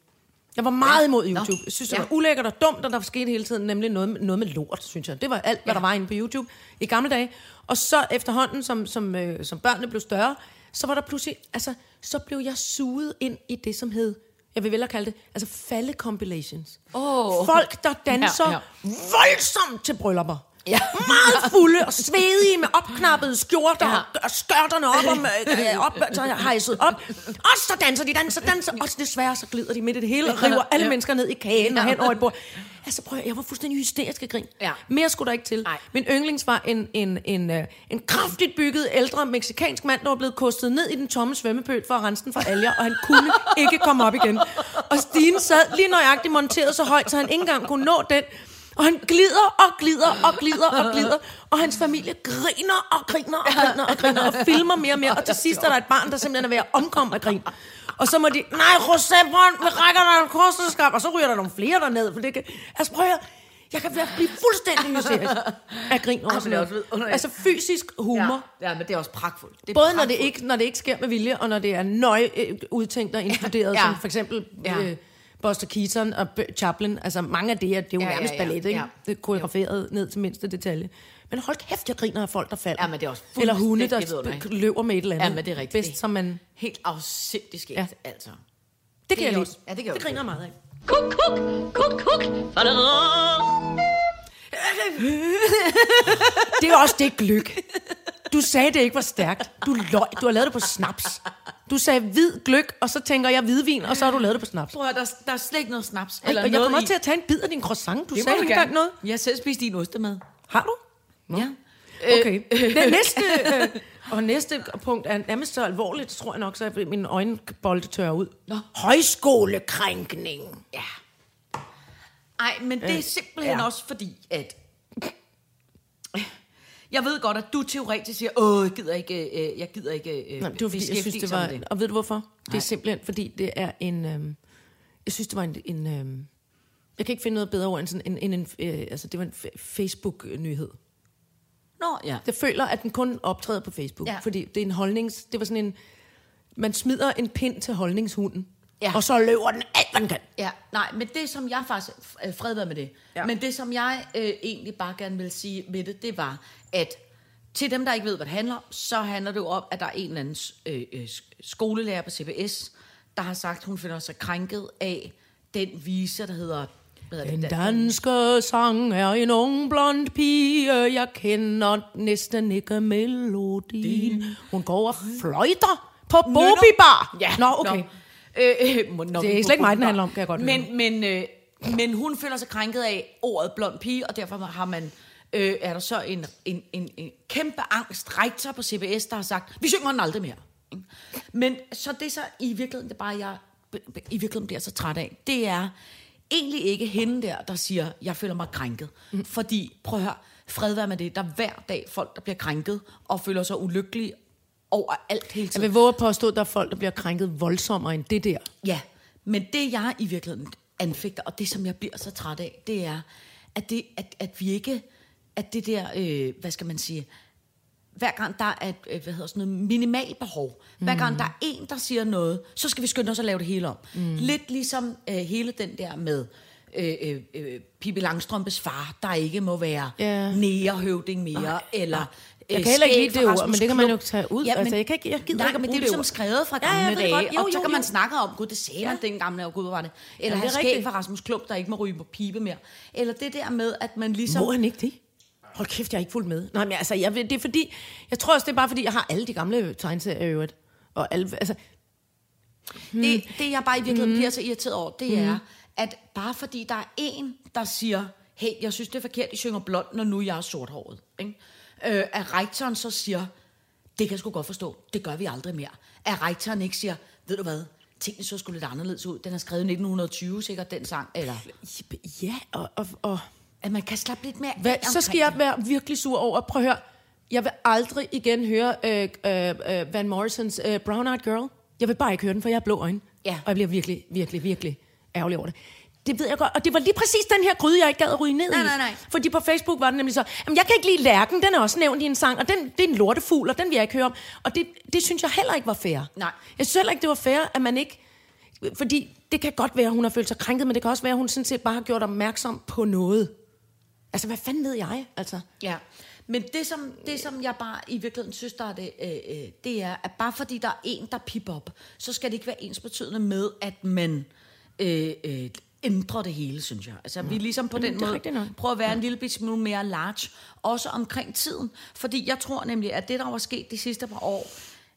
Speaker 3: Jeg var meget
Speaker 4: Ja.
Speaker 3: imod
Speaker 4: Nå.
Speaker 3: YouTube. Jeg synes, det
Speaker 4: Ja.
Speaker 3: var ulækkert og dumt, og der skete hele tiden nemlig noget, med- noget med lort, synes jeg. Det var alt, hvad
Speaker 4: Ja.
Speaker 3: der var inde på YouTube i gamle dage. Og så efterhånden, som, som, øh, som børnene blev større, så var der pludselig, altså, så blev jeg suget ind i det, som hed, jeg vil vel kalde det, altså falde-compilations.
Speaker 4: Åh.
Speaker 3: Folk, der danser
Speaker 4: Ja,
Speaker 3: ja, ja.
Speaker 4: ja.
Speaker 3: voldsomt til bryllupper.
Speaker 4: Ja.
Speaker 3: Ja. Meget fulde og svedige med opknappede skjorter
Speaker 4: Ja.
Speaker 3: ja. og skørterne op, om, øh, øh, op så jeg hejset op. Og så danser de, danser, danser. Og så desværre, så glider de midt i det hele og river alle
Speaker 4: Ja.
Speaker 3: ja. mennesker ned i kagen og
Speaker 4: Ja.
Speaker 3: hen over et bord. Altså prøv at, høre, jeg var fuldstændig hysterisk af grin.
Speaker 4: Ja.
Speaker 3: Mere skulle der ikke til.
Speaker 4: Nej.
Speaker 3: Min yndlings var en, en, en, øh, en kraftigt bygget ældre meksikansk mand, der var blevet kostet ned i den tomme svømmepøl for at rense den for alger, og han kunne ikke komme op igen. Og Stine sad lige nøjagtigt monteret så højt, så han ikke engang kunne nå den. Og han glider og glider og glider og glider, og hans familie griner og griner og griner og griner og filmer mere og mere, og til sidst er der et barn, der simpelthen er ved at omkomme af grin. Og så må de, nej, Rosé Brønd, vi rækker dig en korseskab, og så ryger der nogle flere derned. For det kan... Altså prøv at høre, Jeg kan være, blive fuldstændig hysterisk af grin over
Speaker 4: Ej,
Speaker 3: sådan
Speaker 4: men det
Speaker 3: noget.
Speaker 4: er også vidunderligt.
Speaker 3: Altså fysisk humor. Ja.
Speaker 4: Ja, ja, men det er også pragtfuldt. Det er
Speaker 3: Både når det,
Speaker 4: pragtfuldt.
Speaker 3: ikke, når det ikke sker med vilje, og når det er nøje øh, udtænkt og inkluderet, ja,
Speaker 4: ja.
Speaker 3: ja. som for eksempel
Speaker 4: Ja.
Speaker 3: ja. øh, Buster Keaton og B- Chaplin. Altså mange af det, er- det er jo
Speaker 4: Ja, ja,
Speaker 3: nærmest
Speaker 4: ja,
Speaker 3: ballet, ikke?
Speaker 4: ja.
Speaker 3: Det er koreograferet ned til mindste detalje. Men hold kæft, jeg griner af folk, der falder.
Speaker 4: Ja, men det er også
Speaker 3: Eller hunde, der
Speaker 4: fuldstændig
Speaker 3: sp-
Speaker 4: vidunderligt.
Speaker 3: løber med et eller andet.
Speaker 4: Ja, men det er rigtigt.
Speaker 3: Bedst, som man...
Speaker 4: Helt afsindig skægt, ja.
Speaker 3: Ja.
Speaker 4: altså.
Speaker 3: Det kan
Speaker 4: er
Speaker 3: jeg
Speaker 4: jo-
Speaker 3: lide.
Speaker 4: ja, det kan jeg
Speaker 3: det
Speaker 4: også
Speaker 3: griner jeg meget af.
Speaker 2: Kuk, kuk, kuk, kuk.
Speaker 3: Det er også det gløk. Du sagde, det ikke var stærkt. Du løg. Du har lavet det på snaps. Du sagde hvid gløk, og så tænker jeg hvidvin, og så har du lavet det på snaps.
Speaker 4: Prøv at høre, der, der er slet ikke noget snaps.
Speaker 3: Eller og jeg kommer også til at tage en bid af din croissant. Du sagde ikke engang noget.
Speaker 4: Jeg har selv spist din ostemad.
Speaker 3: Har du?
Speaker 4: Nå. Ja.
Speaker 3: Okay. Den næste, øh, og næste punkt er nærmest så alvorligt, tror jeg nok, så jeg, mine øjenbolde tørrer ud.
Speaker 4: Nå.
Speaker 3: Højskolekrænkning.
Speaker 4: Ja. Ej, men det er simpelthen ja.
Speaker 3: Øh, ja.
Speaker 4: også fordi, at... Jeg ved godt, at du teoretisk siger, åh, jeg gider ikke, øh, jeg gider ikke øh,
Speaker 3: Nej, det var fordi, jeg synes,
Speaker 4: beskæftige
Speaker 3: det
Speaker 4: sig
Speaker 3: var...
Speaker 4: med det.
Speaker 3: Og ved du hvorfor? Det er simpelthen, fordi det er en... Øhm, jeg synes, det var en... en øhm, jeg kan ikke finde noget bedre ord end sådan en... en, en øh, altså, det var en f- Facebook-nyhed.
Speaker 4: Nå, ja.
Speaker 3: Jeg føler, at den kun optræder på Facebook,
Speaker 4: Ja.
Speaker 3: ja. fordi det er en holdnings... Det var sådan en... Man smider en pind til holdningshunden,
Speaker 4: Ja.
Speaker 3: ja. og så løber den alt, hvad den kan.
Speaker 4: Ja, nej, men det som jeg faktisk, f- øh, fred være med det, ja.
Speaker 3: Ja.
Speaker 4: men det som jeg øh, egentlig bare gerne vil sige med det, det var, at til dem, der ikke ved, hvad det handler om, så handler det jo om, at der er en eller anden øh, øh, sk- skolelærer på CBS, der har sagt, hun finder sig krænket af den vise, der hedder... Hvad hedder
Speaker 3: Den
Speaker 4: det,
Speaker 3: danske sang er en ung blond pige, jeg kender næsten ikke melodien. Hun går og fløjter på Bobi Bar.
Speaker 4: Ja,
Speaker 3: Nå, okay.
Speaker 4: Øh, øh, må- nå,
Speaker 3: Det er
Speaker 4: vi
Speaker 3: slet ikke mig, den
Speaker 4: nå.
Speaker 3: handler om, kan jeg godt
Speaker 4: men, men, øh, men hun føler sig krænket af ordet blond pige, og derfor har man, øh, er der så en, en, en, en kæmpe angst, rektor på CBS, der har sagt, vi synger den aldrig mere. ikke? Men så det så i virkeligheden, det er bare jeg b- b- i virkeligheden bliver så træt af, det er egentlig ikke hende der, der siger, jeg føler mig krænket. Mm. Fordi, prøv at høre, fred være med det, der er hver dag folk, der bliver krænket og føler sig ulykkelige over alt hele
Speaker 3: Jeg
Speaker 4: tiden.
Speaker 3: vil våge at påstå, at der er folk, der bliver krænket voldsommere end det der.
Speaker 4: Ja, men det jeg i virkeligheden anfægter, og det som jeg bliver så træt af, det er, at, det, at, at vi ikke, at det der, øh, hvad skal man sige, hver gang der er et, øh, hvad hedder sådan noget, minimal behov, hver gang der er
Speaker 3: Mm.
Speaker 4: en, der siger noget, så skal vi skynde os at lave det hele om. Mm. Lidt ligesom øh, hele den der med øh, øh, øh, Pippi Langstrømpes far, der ikke må være
Speaker 3: Ja.
Speaker 4: nærehøvding mere, nej, eller øh,
Speaker 3: Jeg kan heller ikke
Speaker 4: skæg
Speaker 3: lide det
Speaker 4: fra
Speaker 3: ord,
Speaker 4: Rasmus
Speaker 3: men det kan man jo
Speaker 4: Klump.
Speaker 3: tage ud. Altså, jeg kan ikke- jeg gider
Speaker 4: nej,
Speaker 3: ikke at bruge
Speaker 4: men det er
Speaker 3: det
Speaker 4: ligesom
Speaker 3: ord.
Speaker 4: skrevet fra
Speaker 3: Ja, ja,
Speaker 4: gamle
Speaker 3: jeg ved det
Speaker 4: dage,
Speaker 3: godt. Jo,
Speaker 4: og så
Speaker 3: jo,
Speaker 4: kan man
Speaker 3: jo.
Speaker 4: snakke om, gud, det sagde man ja. dengang, og gud, hvor var det. Eller
Speaker 3: Jamen,
Speaker 4: han
Speaker 3: det er
Speaker 4: skæg
Speaker 3: rigtigt.
Speaker 4: fra Rasmus Klump, der ikke må ryge på pibe mere. Eller det der med, at man ligesom...
Speaker 3: Må han ikke det? Hold kæft, jeg er ikke fuldt med. Nej, men altså, jeg, ved- det er fordi, jeg tror også, det er bare fordi, jeg har alle de gamle tegneserier i øvrigt. Og alle, altså,
Speaker 4: Det,
Speaker 3: Hmm.
Speaker 4: det jeg bare i virkeligheden bliver så irriteret over, det er, at bare fordi der er en, der siger, hey, jeg synes, det er forkert, I synger blond, når nu jeg er sorthåret. Ikke? Øh, at rektoren så siger, det kan jeg sgu godt forstå, det gør vi aldrig mere. At rektoren ikke siger, ved du hvad, tingene så skulle lidt anderledes ud. Den er skrevet i 1920 sikkert, den sang. Eller
Speaker 3: ja, og, og, og
Speaker 4: at man kan slappe lidt mere af
Speaker 3: hvad, så skal
Speaker 4: omkring
Speaker 3: jeg
Speaker 4: det.
Speaker 3: være virkelig sur over, prøv at høre, jeg vil aldrig igen høre øh, øh, øh, Van Morrisons øh, Brown Eyed Girl. Jeg vil bare ikke høre den, for jeg har blå øjne.
Speaker 4: Ja.
Speaker 3: Og jeg bliver virkelig, virkelig, virkelig ærgerlig over det. Det ved jeg godt. Og det var lige præcis den her gryde, jeg ikke gad at ryge ned
Speaker 4: Nej,
Speaker 3: i.
Speaker 4: nej, nej.
Speaker 3: Fordi på Facebook var den nemlig så, Jamen, jeg kan ikke lide lærken, den er også nævnt i en sang, og den, det er en lortefugl, og den vil jeg ikke høre om. Og det, det synes jeg heller ikke var fair.
Speaker 4: Nej.
Speaker 3: Jeg synes heller ikke, det var fair, at man ikke... Fordi det kan godt være, at hun har følt sig krænket, men det kan også være, at hun sådan set bare har gjort opmærksom på noget. Altså, hvad fanden ved jeg? Altså,
Speaker 4: Ja, men det som, det, som jeg bare i virkeligheden synes, der er det, øh, øh, det er, at bare fordi der er en, der pipper op, så skal det ikke være ensbetydende med, at man øh, øh, ændrer det hele, synes jeg. Altså, vi ligesom på den
Speaker 3: det er rigtigt
Speaker 4: måde
Speaker 3: nok.
Speaker 4: prøver at være en lille bit smule mere large, også omkring tiden. Fordi jeg tror nemlig, at det, der var sket de sidste par år,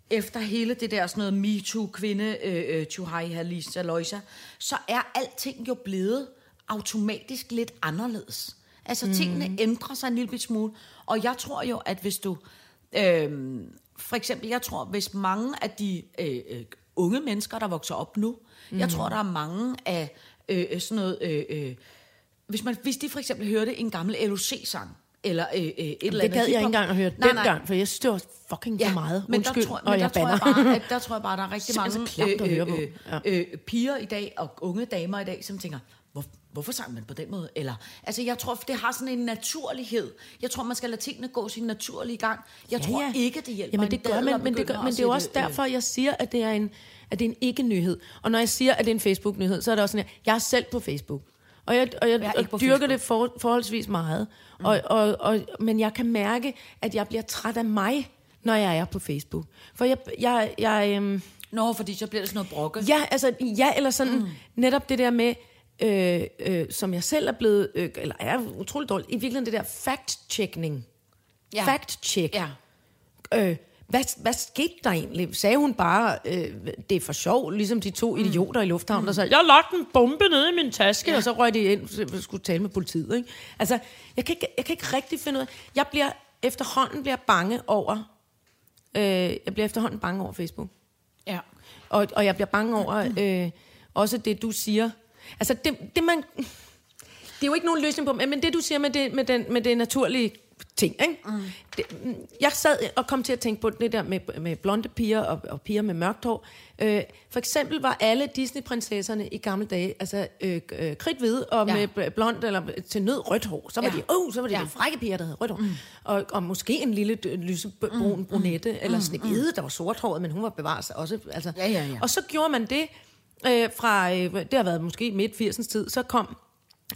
Speaker 4: efter hele det der sådan noget MeToo, kvinde, øh, øh, Tjuhai, Halis, Aloysa, så er alting jo blevet automatisk lidt anderledes. Altså mm. tingene ændrer sig en lille bit smule, og jeg tror jo, at hvis du... Øh, for eksempel, jeg tror, hvis mange af de øh, øh, unge mennesker, der vokser op nu, mm. jeg tror, der er mange af øh, øh, sådan noget... Øh, øh, hvis, man, hvis de for eksempel hørte en gammel LOC-sang, eller øh, øh, et eller andet...
Speaker 3: det gad jeg
Speaker 4: hiphop-
Speaker 3: ikke engang at høre
Speaker 4: Nej,
Speaker 3: den
Speaker 4: nej.
Speaker 3: gang, for jeg synes, det var fucking for meget.
Speaker 4: Men
Speaker 3: Undskyld,
Speaker 4: der tror,
Speaker 3: og
Speaker 4: men
Speaker 3: jeg
Speaker 4: der, tror jeg
Speaker 3: banner.
Speaker 4: bare, at, der tror jeg bare, der er rigtig
Speaker 3: Simpelthen
Speaker 4: mange
Speaker 3: så klamt at høre på.
Speaker 4: øh, øh, piger i dag og unge damer i dag, som tænker, hvor, hvorfor sang man på den måde? Eller, altså, jeg tror, det har sådan en naturlighed. Jeg tror, man skal lade tingene gå sin naturlige gang. Jeg ja, tror ja. ikke, det hjælper
Speaker 3: Jamen, det
Speaker 4: en
Speaker 3: gør
Speaker 4: dadel
Speaker 3: man,
Speaker 4: at
Speaker 3: men det,
Speaker 4: begynde
Speaker 3: gør,
Speaker 4: at
Speaker 3: men det er jo
Speaker 4: sætte,
Speaker 3: også
Speaker 4: øh,
Speaker 3: derfor, jeg siger, at det er en, at det er en ikke-nyhed. Og når jeg siger, at det er en Facebook-nyhed, så er det også sådan, at jeg er selv på Facebook. Og jeg, og jeg,
Speaker 4: Jeg er ikke på
Speaker 3: og dyrker det for, forholdsvis meget. Mm. Og, og, og, men jeg kan mærke, at jeg bliver træt af mig, når jeg er på Facebook. For jeg... jeg, jeg øhm,
Speaker 4: Nå, fordi så bliver det sådan noget brokke.
Speaker 3: Ja, altså, ja, eller sådan mm. netop det der med, øh, øh, som jeg selv er blevet, øh, eller er utroligt dårligt, i virkeligheden det der fact-checking. Ja. Fact-check.
Speaker 4: Ja.
Speaker 3: Øh, hvad, hvad skete der egentlig? Sagde hun bare, øh, det er for sjov, ligesom de to idioter i lufthavnen, der sagde, jeg har lagt en bombe nede i min taske, ja. og så røg de ind, så jeg skulle tale med politiet. Ikke? Altså, jeg kan, ikke, jeg kan ikke rigtig finde ud af, jeg bliver efterhånden bliver jeg bange over, øh, jeg bliver efterhånden bange over Facebook.
Speaker 4: ja.
Speaker 3: Og, og jeg bliver bange over øh, også det, du siger. Altså, det, det man... Det er jo ikke nogen løsning på, men men det, du siger med det, med den, med det naturlige ting, ikke? Mm. Det, mm, jeg sad og kom til at tænke på det der med, med blonde piger og, og piger med mørkt hår. Øh, for eksempel var alle Disney-prinsesserne i gamle dage, altså øh, øh, kridhvide og
Speaker 4: Ja.
Speaker 3: ja. med bl- blond eller til nød rødt hår. Så var
Speaker 4: Ja.
Speaker 3: ja. de, oh, så var det
Speaker 4: Ja.
Speaker 3: ja. de frække piger, der havde rødt hår. Mm. Og, og måske en lille øh, lysebrun mm. brunette, mm. eller sådan en der var sorthåret, men hun var bevaret sig også. Altså,
Speaker 4: Ja, ja, ja.
Speaker 3: og så gjorde man det øh, fra, øh, det har været måske midt 80'ens tid, så kom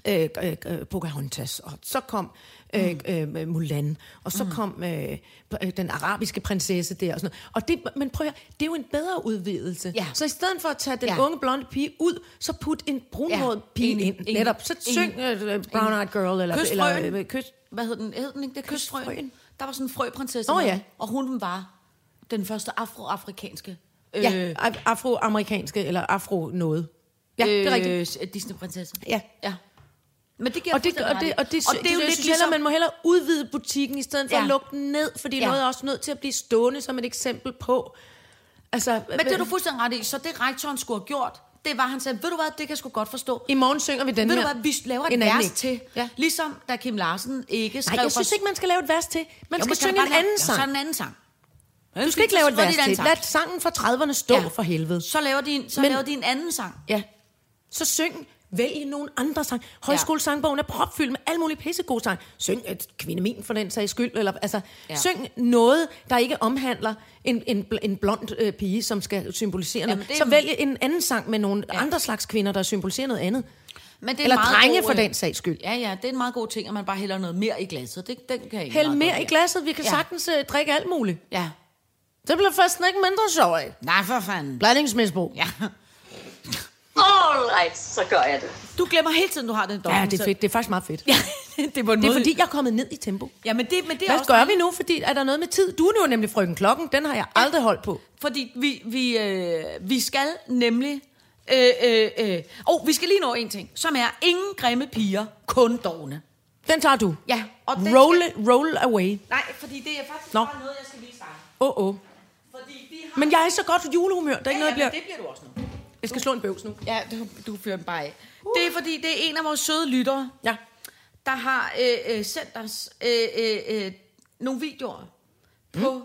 Speaker 3: øh, øh, øh, Pocahontas, og så kom øh, øh, Mulan, og så mm. kom øh, p- øh, den arabiske prinsesse der, og sådan noget. Og det, men prøv at høre, det er jo en bedre udvidelse.
Speaker 4: Ja.
Speaker 3: Så i stedet for at tage den
Speaker 4: Ja.
Speaker 3: ja. unge blonde pige ud, så put en brunhåret
Speaker 4: Ja.
Speaker 3: ja. pige
Speaker 4: Enig.
Speaker 3: ind,
Speaker 4: Enig.
Speaker 3: netop. Så
Speaker 4: Enig.
Speaker 3: syng øh, Brown Eyed Girl, eller...
Speaker 4: Kys
Speaker 3: eller
Speaker 4: frøen.
Speaker 3: øh, kys,
Speaker 4: Hvad hed den? Hed den ikke det? Kystfrøen.
Speaker 3: Kystfrøen.
Speaker 4: Der var sådan en frøprinsesse.
Speaker 3: Nå
Speaker 4: med,
Speaker 3: ja.
Speaker 4: Og hun var den første afroafrikanske øh,
Speaker 3: ja, af- afroamerikanske, eller afro-noget. Ja, øh, det er rigtigt.
Speaker 4: øh, Disney-prinsesse.
Speaker 3: Ja.
Speaker 4: ja. Men det giver
Speaker 3: og det, og, det, og, det, og det er jo lidt ligesom... Heller, man må hellere udvide butikken, i stedet for
Speaker 4: Ja.
Speaker 3: ja. at lukke den ned, fordi
Speaker 4: Ja.
Speaker 3: ja. noget er også nødt til at blive stående som et eksempel på. Altså,
Speaker 4: Men det er du fuldstændig ret i. Så det rektoren skulle have gjort, det var, han sagde, ved du hvad, det kan jeg sgu godt forstå.
Speaker 3: i morgen synger vi den
Speaker 4: Ved du
Speaker 3: her.
Speaker 4: hvad, vi laver et
Speaker 3: En anden
Speaker 4: vers
Speaker 3: ikke.
Speaker 4: til.
Speaker 3: Ja.
Speaker 4: Ligesom da Kim Larsen ikke skrev
Speaker 3: Nej, jeg
Speaker 4: fra-
Speaker 3: synes ikke, man skal lave et vers til. Man
Speaker 4: Jo,
Speaker 3: skal
Speaker 4: men kan
Speaker 3: synge
Speaker 4: bare
Speaker 3: en
Speaker 4: lave-
Speaker 3: anden
Speaker 4: Ja,
Speaker 3: sang.
Speaker 4: Så en anden sang.
Speaker 3: Du skal ikke lave et
Speaker 4: Så er det
Speaker 3: vers
Speaker 4: en anden
Speaker 3: til.
Speaker 4: sang.
Speaker 3: Lad sangen fra 30'erne stå
Speaker 4: Ja.
Speaker 3: ja. for helvede.
Speaker 4: Så laver de en, så
Speaker 3: Men-
Speaker 4: laver de en anden sang.
Speaker 3: Ja. Så syng, vælg nogle andre sang. Højskolesangbogen er propfyldt med alle mulige pissegode sang. Syng et kvindemin for den sags skyld. Eller, altså,
Speaker 4: Ja.
Speaker 3: ja. Syng noget, der ikke omhandler en, en, bl- en blond øh, pige, som skal symbolisere
Speaker 4: Jamen,
Speaker 3: noget.
Speaker 4: det er-
Speaker 3: Så vælg en anden sang med nogle ja. andre slags kvinder, der symboliserer noget andet.
Speaker 4: Men det er en
Speaker 3: Eller
Speaker 4: meget
Speaker 3: drenge
Speaker 4: god,
Speaker 3: for
Speaker 4: øh,
Speaker 3: den sags skyld.
Speaker 4: Ja, ja, det er en meget god ting, at man bare hælder noget mere i glasset. Det, den kan jeg
Speaker 3: Hæld
Speaker 4: meget
Speaker 3: mere
Speaker 4: godt
Speaker 3: i
Speaker 4: lide.
Speaker 3: glasset. Vi kan
Speaker 4: Ja.
Speaker 3: ja. sagtens øh, drikke alt muligt.
Speaker 4: Ja.
Speaker 3: Det bliver festen ikke mindre sjov af.
Speaker 4: Nej, for fanden.
Speaker 3: Blandingsmisbrug.
Speaker 4: Ja.
Speaker 2: Alright, så gør jeg det.
Speaker 4: Du glemmer hele tiden, du har den dårlige.
Speaker 3: Ja, det er fedt. Det er faktisk meget fedt.
Speaker 4: Ja, det er på en
Speaker 3: Det er
Speaker 4: måde.
Speaker 3: fordi, jeg er kommet ned i tempo.
Speaker 4: Ja, men det, men det er
Speaker 3: Hvad
Speaker 4: også
Speaker 3: gør vi nu? Fordi er der noget med tid? Du er jo nemlig frøken klokken. Den har jeg aldrig holdt på.
Speaker 4: Fordi vi, vi, øh, vi skal nemlig... Øh, øh, øh. Oh, vi skal lige nå en ting, som er ingen grimme piger, kun dogne.
Speaker 3: Den tager du.
Speaker 4: Ja, og den
Speaker 3: Roll,
Speaker 4: skal-
Speaker 3: roll away.
Speaker 4: Nej, fordi det er faktisk
Speaker 3: Nå.
Speaker 4: bare noget, jeg skal vise dig.
Speaker 3: Åh, oh, oh.
Speaker 4: Fordi vi har...
Speaker 3: Men jeg er i så godt julehumør. Der er
Speaker 4: ja,
Speaker 3: ikke noget, jeg
Speaker 4: ja,
Speaker 3: bliver...
Speaker 4: men det bliver du også nu.
Speaker 3: Jeg skal slå en bøvs nu.
Speaker 4: Ja, du, du fyrer den bare af. Uh. Det er fordi, det er en af vores søde lyttere,
Speaker 3: Ja.
Speaker 4: der har øh, øh, sendt os øh, øh, øh, nogle videoer mm. på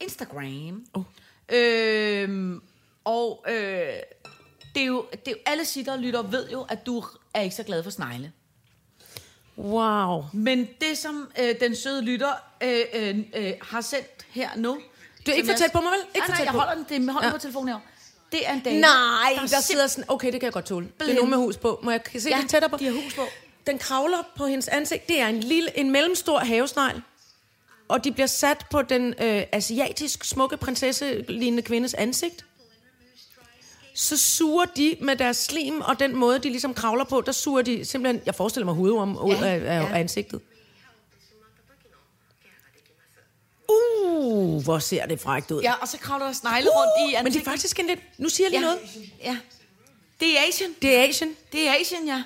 Speaker 4: Instagram.
Speaker 3: Oh.
Speaker 4: Øhm, og øh, det, er jo, det er jo alle sitter og lytter ved jo, at du er ikke så glad for snegle.
Speaker 3: Wow.
Speaker 4: Men det, som øh, den søde lytter øh, øh, øh, har sendt her nu...
Speaker 3: Du er ikke
Speaker 4: som
Speaker 3: for tæt på mig, vel? Ikke
Speaker 4: nej,
Speaker 3: for
Speaker 4: nej,
Speaker 3: tæt
Speaker 4: jeg
Speaker 3: på.
Speaker 4: holder den, det, jeg holder ja. på telefonen her. Det er en dame,
Speaker 3: Nej, der
Speaker 4: simp-
Speaker 3: sidder sådan... Okay, det kan jeg godt tåle. Det er
Speaker 4: Simpelthen.
Speaker 3: nogen med hus på. Må jeg se
Speaker 4: Ja,
Speaker 3: ja, den tættere på?
Speaker 4: de har hus på.
Speaker 3: Den kravler på hendes ansigt. Det er en lille, en mellemstor havesnegl. Og de bliver sat på den øh, asiatisk smukke prinsesse-lignende kvindes ansigt. Så suger de med deres slim, og den måde, de ligesom kravler på, der suger de simpelthen, jeg forestiller mig hovedet om, ud
Speaker 4: Ja,
Speaker 3: af, af,
Speaker 4: ja.
Speaker 3: af ansigtet. Uh, hvor ser det frækt ud.
Speaker 4: Ja, og så kravler der snegle uh, rundt i
Speaker 3: Men det
Speaker 4: ansigtet.
Speaker 3: er faktisk en lidt... Nu siger jeg
Speaker 4: ja.
Speaker 3: lige ja. noget.
Speaker 4: Ja. Det er Asian.
Speaker 3: Det er Asien.
Speaker 4: Det er Asien, ja.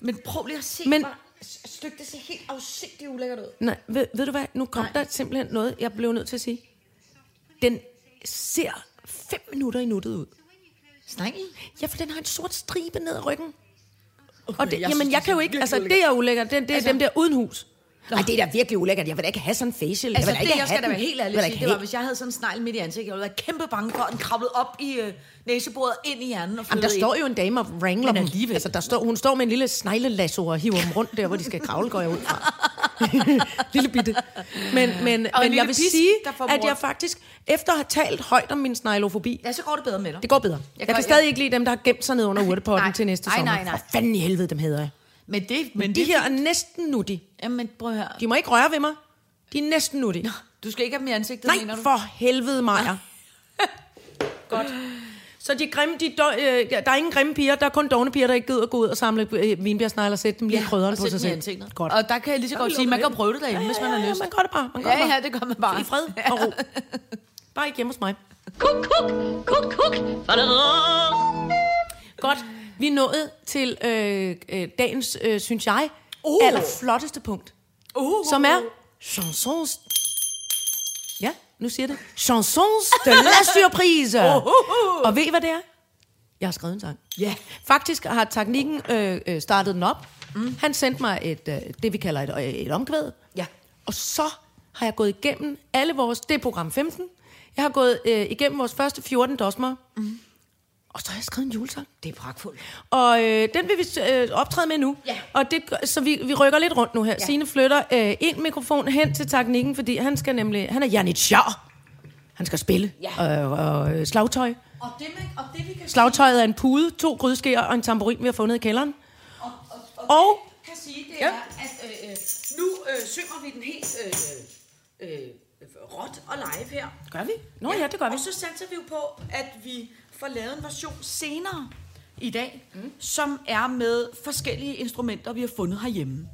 Speaker 4: Men prøv lige at se.
Speaker 3: Men-
Speaker 4: hvor- s- Stykke, det ser helt afsindigt ulækkert ud.
Speaker 3: Nej, ved, ved du hvad? Nu kom
Speaker 4: Nej.
Speaker 3: Nej. der simpelthen noget, jeg blev nødt til at sige. Den ser fem minutter i nuttet ud.
Speaker 4: Sneglen?
Speaker 3: Ja, for den har en sort stribe ned ad ryggen. Okay, og det,
Speaker 4: jeg
Speaker 3: jeg jamen,
Speaker 4: synes,
Speaker 3: jeg
Speaker 4: det
Speaker 3: kan jo
Speaker 4: ser
Speaker 3: ikke...
Speaker 4: virkelig
Speaker 3: Altså,
Speaker 4: ulækkert.
Speaker 3: det er ulækkert. Det, det er
Speaker 4: Altså-
Speaker 3: altså, dem der uden hus.
Speaker 5: Ej, det er da virkelig ulækkert. Jeg vil da ikke have sådan en facial.
Speaker 4: Altså,
Speaker 5: jeg vil da
Speaker 4: det,
Speaker 5: ikke
Speaker 4: jeg
Speaker 5: have
Speaker 4: skal da
Speaker 5: den.
Speaker 4: være helt
Speaker 5: Jeg
Speaker 4: ærlig
Speaker 5: vil da
Speaker 4: og sige,
Speaker 5: ikke
Speaker 4: det
Speaker 5: have-
Speaker 4: var, hvis jeg havde sådan en snegl midt i ansigtet, jeg ville være kæmpe bange for, at den kravlede op i øh, næsebordet, ind i hjernen og
Speaker 3: Jamen,
Speaker 4: flyttede
Speaker 3: der står jo en dame og wrangler dem. Altså, der står, hun står med en lille sneglelasso og hiver dem rundt der, hvor de skal kravle, går jeg ud fra. lille bitte. Men, men, men
Speaker 4: lille
Speaker 3: jeg vil
Speaker 4: pisk,
Speaker 3: sige,
Speaker 4: der får
Speaker 3: at
Speaker 4: mor.
Speaker 3: jeg faktisk, efter at have talt højt om min sneglofobi,
Speaker 4: Ja, så går det bedre med dig.
Speaker 3: det går bedre. Jeg,
Speaker 4: gør-
Speaker 3: kan stadig ikke lide dem, der har gemt sig ned under urtepotten
Speaker 4: Nej.
Speaker 3: til næste
Speaker 4: Nej,
Speaker 3: sommer.
Speaker 4: nej, nej.
Speaker 3: For fanden i helvede, dem hedder jeg.
Speaker 4: Men det, men
Speaker 3: De
Speaker 4: det,
Speaker 3: her er næsten nuttige.
Speaker 4: Jamen, prøv at høre.
Speaker 3: De må ikke røre ved mig. De er næsten nuttige.
Speaker 4: Du skal ikke have dem i ansigtet, mener
Speaker 3: Nej,
Speaker 4: du?
Speaker 3: for helvede, Maja. Godt. Så de grimme, de dø, øh, der er ingen grimme piger, der er kun dogne piger, der ikke gider gå ud og samle øh, vinbjergsnegle og sætte dem lige ja,
Speaker 4: og
Speaker 3: krydderen på sig
Speaker 4: sæt dem i
Speaker 3: selv.
Speaker 4: ansigtet.
Speaker 3: Godt.
Speaker 4: Og der kan jeg lige så godt sige, man kan prøve det derhjemme, hvis man har
Speaker 3: ja,
Speaker 4: lyst.
Speaker 3: man gør det bare. Man gør
Speaker 4: Ja,
Speaker 3: det bare.
Speaker 4: ja, det gør man bare.
Speaker 3: I fred og ro. Bare ikke hjemme hos mig.
Speaker 2: Kuk, kuk, kuk, kuk.
Speaker 3: Godt. Vi er nået til øh, øh, dagens, øh, synes jeg, uh. allerflotteste punkt. Uh. Som er chansons... Ja, nu siger jeg det. Chansons de la surprise. Uh, uh, uh. Og ved I, hvad det er? Jeg har skrevet en sang.
Speaker 4: Ja.
Speaker 3: Faktisk har teknikken øh, øh, startet den op. Mm. Han sendte mig et, øh, det, vi kalder et, øh, et omkvæd.
Speaker 4: Ja.
Speaker 3: Og så har jeg gået igennem alle vores... Det er program 15. Jeg har gået øh, igennem vores første 14 dosmer. Mm. Og så har jeg skrevet en julesang.
Speaker 4: Det er pragtfuldt.
Speaker 3: Og øh, den vil vi øh, optræde med nu.
Speaker 4: Ja.
Speaker 3: Og det, gør- så vi, vi rykker lidt rundt nu her. Ja. Signe flytter øh, en mikrofon hen til teknikken, fordi han skal nemlig... Han er janitjar. Han skal spille.
Speaker 4: Ja.
Speaker 3: Og, og øh, slagtøj.
Speaker 4: Og det, man, og det vi kan
Speaker 3: Slagtøjet er en pude, to grydeskeer og en tamburin, vi har fundet i kælderen.
Speaker 4: og, og,
Speaker 3: Og-
Speaker 4: det, vi kan sige, det
Speaker 3: Ja.
Speaker 4: er, at øh, øh, nu øh, synger vi den helt øh, øh, råt og live her.
Speaker 3: Gør vi? Nå ja, det gør vi.
Speaker 4: Og så satser vi jo på, at vi får lavet en version senere i dag, mm. som er med forskellige instrumenter, vi har fundet herhjemme.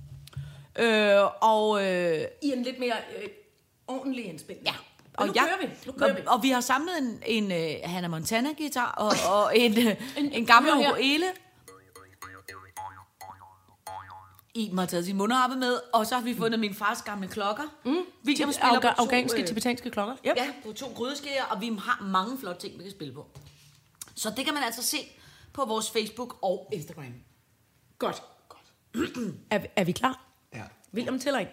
Speaker 4: Øh, og øh,
Speaker 3: I en lidt mere øh, ordentlig indspilning.
Speaker 4: Ja.
Speaker 3: Og nu
Speaker 4: jeg-
Speaker 3: kører vi. Nu kører
Speaker 4: og,
Speaker 3: vi.
Speaker 4: og vi har samlet en, en uh, Hannah Montana-guitar og, og en, uh, en, en gammel
Speaker 3: hør her.
Speaker 4: ukulele. Iben har taget sin mundharpe med, og så har vi fundet min fars gamle klokker. Mm. Vi
Speaker 3: Tim
Speaker 4: spiller
Speaker 3: Afga-
Speaker 4: på to,
Speaker 3: afghanske,
Speaker 4: øh,
Speaker 3: tibetanske klokker. Yep.
Speaker 4: Ja, på to grydeskærer, og vi har mange flotte ting, vi kan spille på. Så det kan man altså se på vores Facebook og Instagram.
Speaker 3: Godt. er, vi- er vi klar?
Speaker 6: Ja,
Speaker 3: William tæller ikke.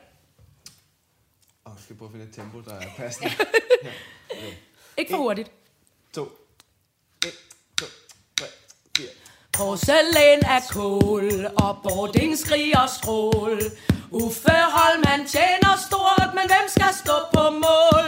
Speaker 6: og jeg skal prøve at finde et tempo, der er passende.
Speaker 3: Ikke for hurtigt.
Speaker 6: to, et, to, tre, fire.
Speaker 3: Porcelæn er kål, og boarding skriger strål. Uffe Holman tjener stort, men hvem skal stå på mål?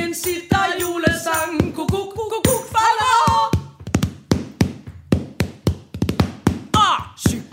Speaker 3: en sitter julesang, kukuk, kukuk, kuk, falder. Ah,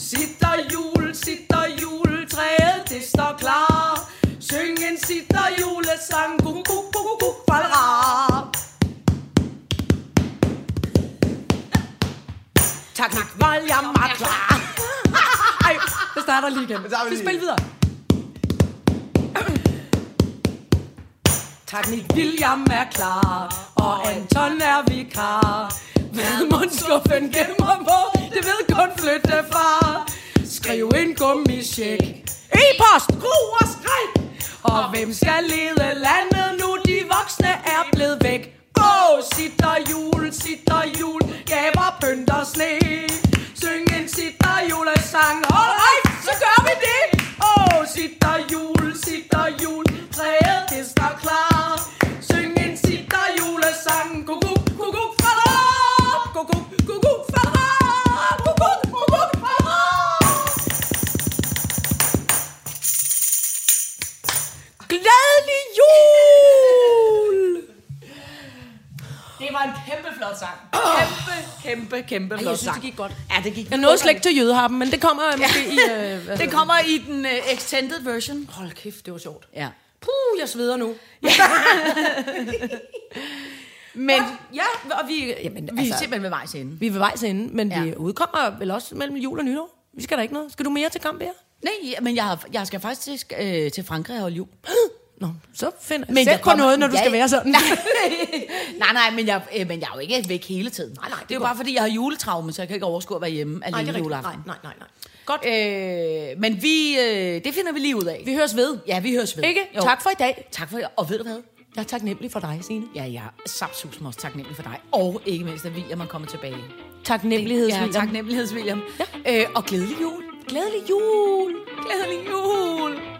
Speaker 3: Sitter jul, sitter jul, træet det står klar. Syng en sitter julesang, kuk, kuk, kuk, kuk, kuk, falra. Tak, tak, var jeg meget klar. Ej, det starter lige igen.
Speaker 6: starter
Speaker 3: Vi
Speaker 6: lige.
Speaker 3: spiller videre. Teknik William er klar, og Anton er vikar. Hvad mundskuffen gemmer på, det ved kun flyttefar. Skriv en gummisjek, e-post, gro og skræk. Og hvem skal lede landet nu, de voksne er blevet væk. Åh, oh, sitter jul, sitter jul, gaver, pynt og sne. Syng en sitter julesang, all right, så gør vi det. Åh, oh, sitter jul, sitter jul, træet det står klar. Syng en sitter julesang, kukuk, kukuk, fara. Kukuk, kukuk, fara. Kukuk, kukuk, fara. Glædelig jul!
Speaker 4: Det var en kæmpe flot sang. Kæmpe, kæmpe, kæmpe flot sang.
Speaker 3: synes, det gik godt.
Speaker 4: Ja, det gik
Speaker 3: Jeg nåede slet ikke til jødehappen, men det kommer måske i... Øh, hvad
Speaker 4: Det kommer i den uh, extended version.
Speaker 3: Hold kæft, det var sjovt.
Speaker 4: Ja.
Speaker 3: Puh, jeg sveder nu.
Speaker 4: Men
Speaker 3: Ja, og vi, jamen,
Speaker 4: vi altså- er simpelthen ved vejs ende.
Speaker 3: vi er ved vejs ende, men
Speaker 4: Ja.
Speaker 3: ja. vi udkommer vel også mellem jul og nytår. Vi skal da ikke noget. Skal du mere til kamp her?
Speaker 4: Nej, ja, men jeg, har, jeg skal faktisk til, sk- øh, til Frankrig og holde jul.
Speaker 3: Nå, så find
Speaker 4: Men
Speaker 3: Sæt
Speaker 4: jeg
Speaker 3: på
Speaker 4: kommer-
Speaker 3: noget, når du
Speaker 4: Ja,
Speaker 3: skal være sådan.
Speaker 4: nej, nej, men jeg, øh, men jeg er jo ikke væk hele tiden. Nej, nej, det, er jo bare fordi, jeg har juletraume, så jeg kan ikke overskue at være hjemme alene nej,
Speaker 3: Nej,
Speaker 4: juleaften.
Speaker 3: nej, nej, nej. Godt.
Speaker 4: Øh, men vi, øh, det finder vi lige ud af.
Speaker 3: Vi høres ved.
Speaker 4: Ja, vi høres ved.
Speaker 3: Ikke?
Speaker 4: Jo.
Speaker 3: Tak for i dag.
Speaker 4: Tak for det. Og ved du hvad?
Speaker 3: Jeg er taknemmelig for dig, Signe.
Speaker 4: Ja, jeg er sapsus også taknemmelig for dig. Og ikke mindst, at William er kommet tilbage.
Speaker 3: Taknemmeligheds,
Speaker 4: Ja, taknemmeligheds, William. Ja. Øh, og glædelig jul.
Speaker 3: Glædelig jul.
Speaker 4: Glædelig jul.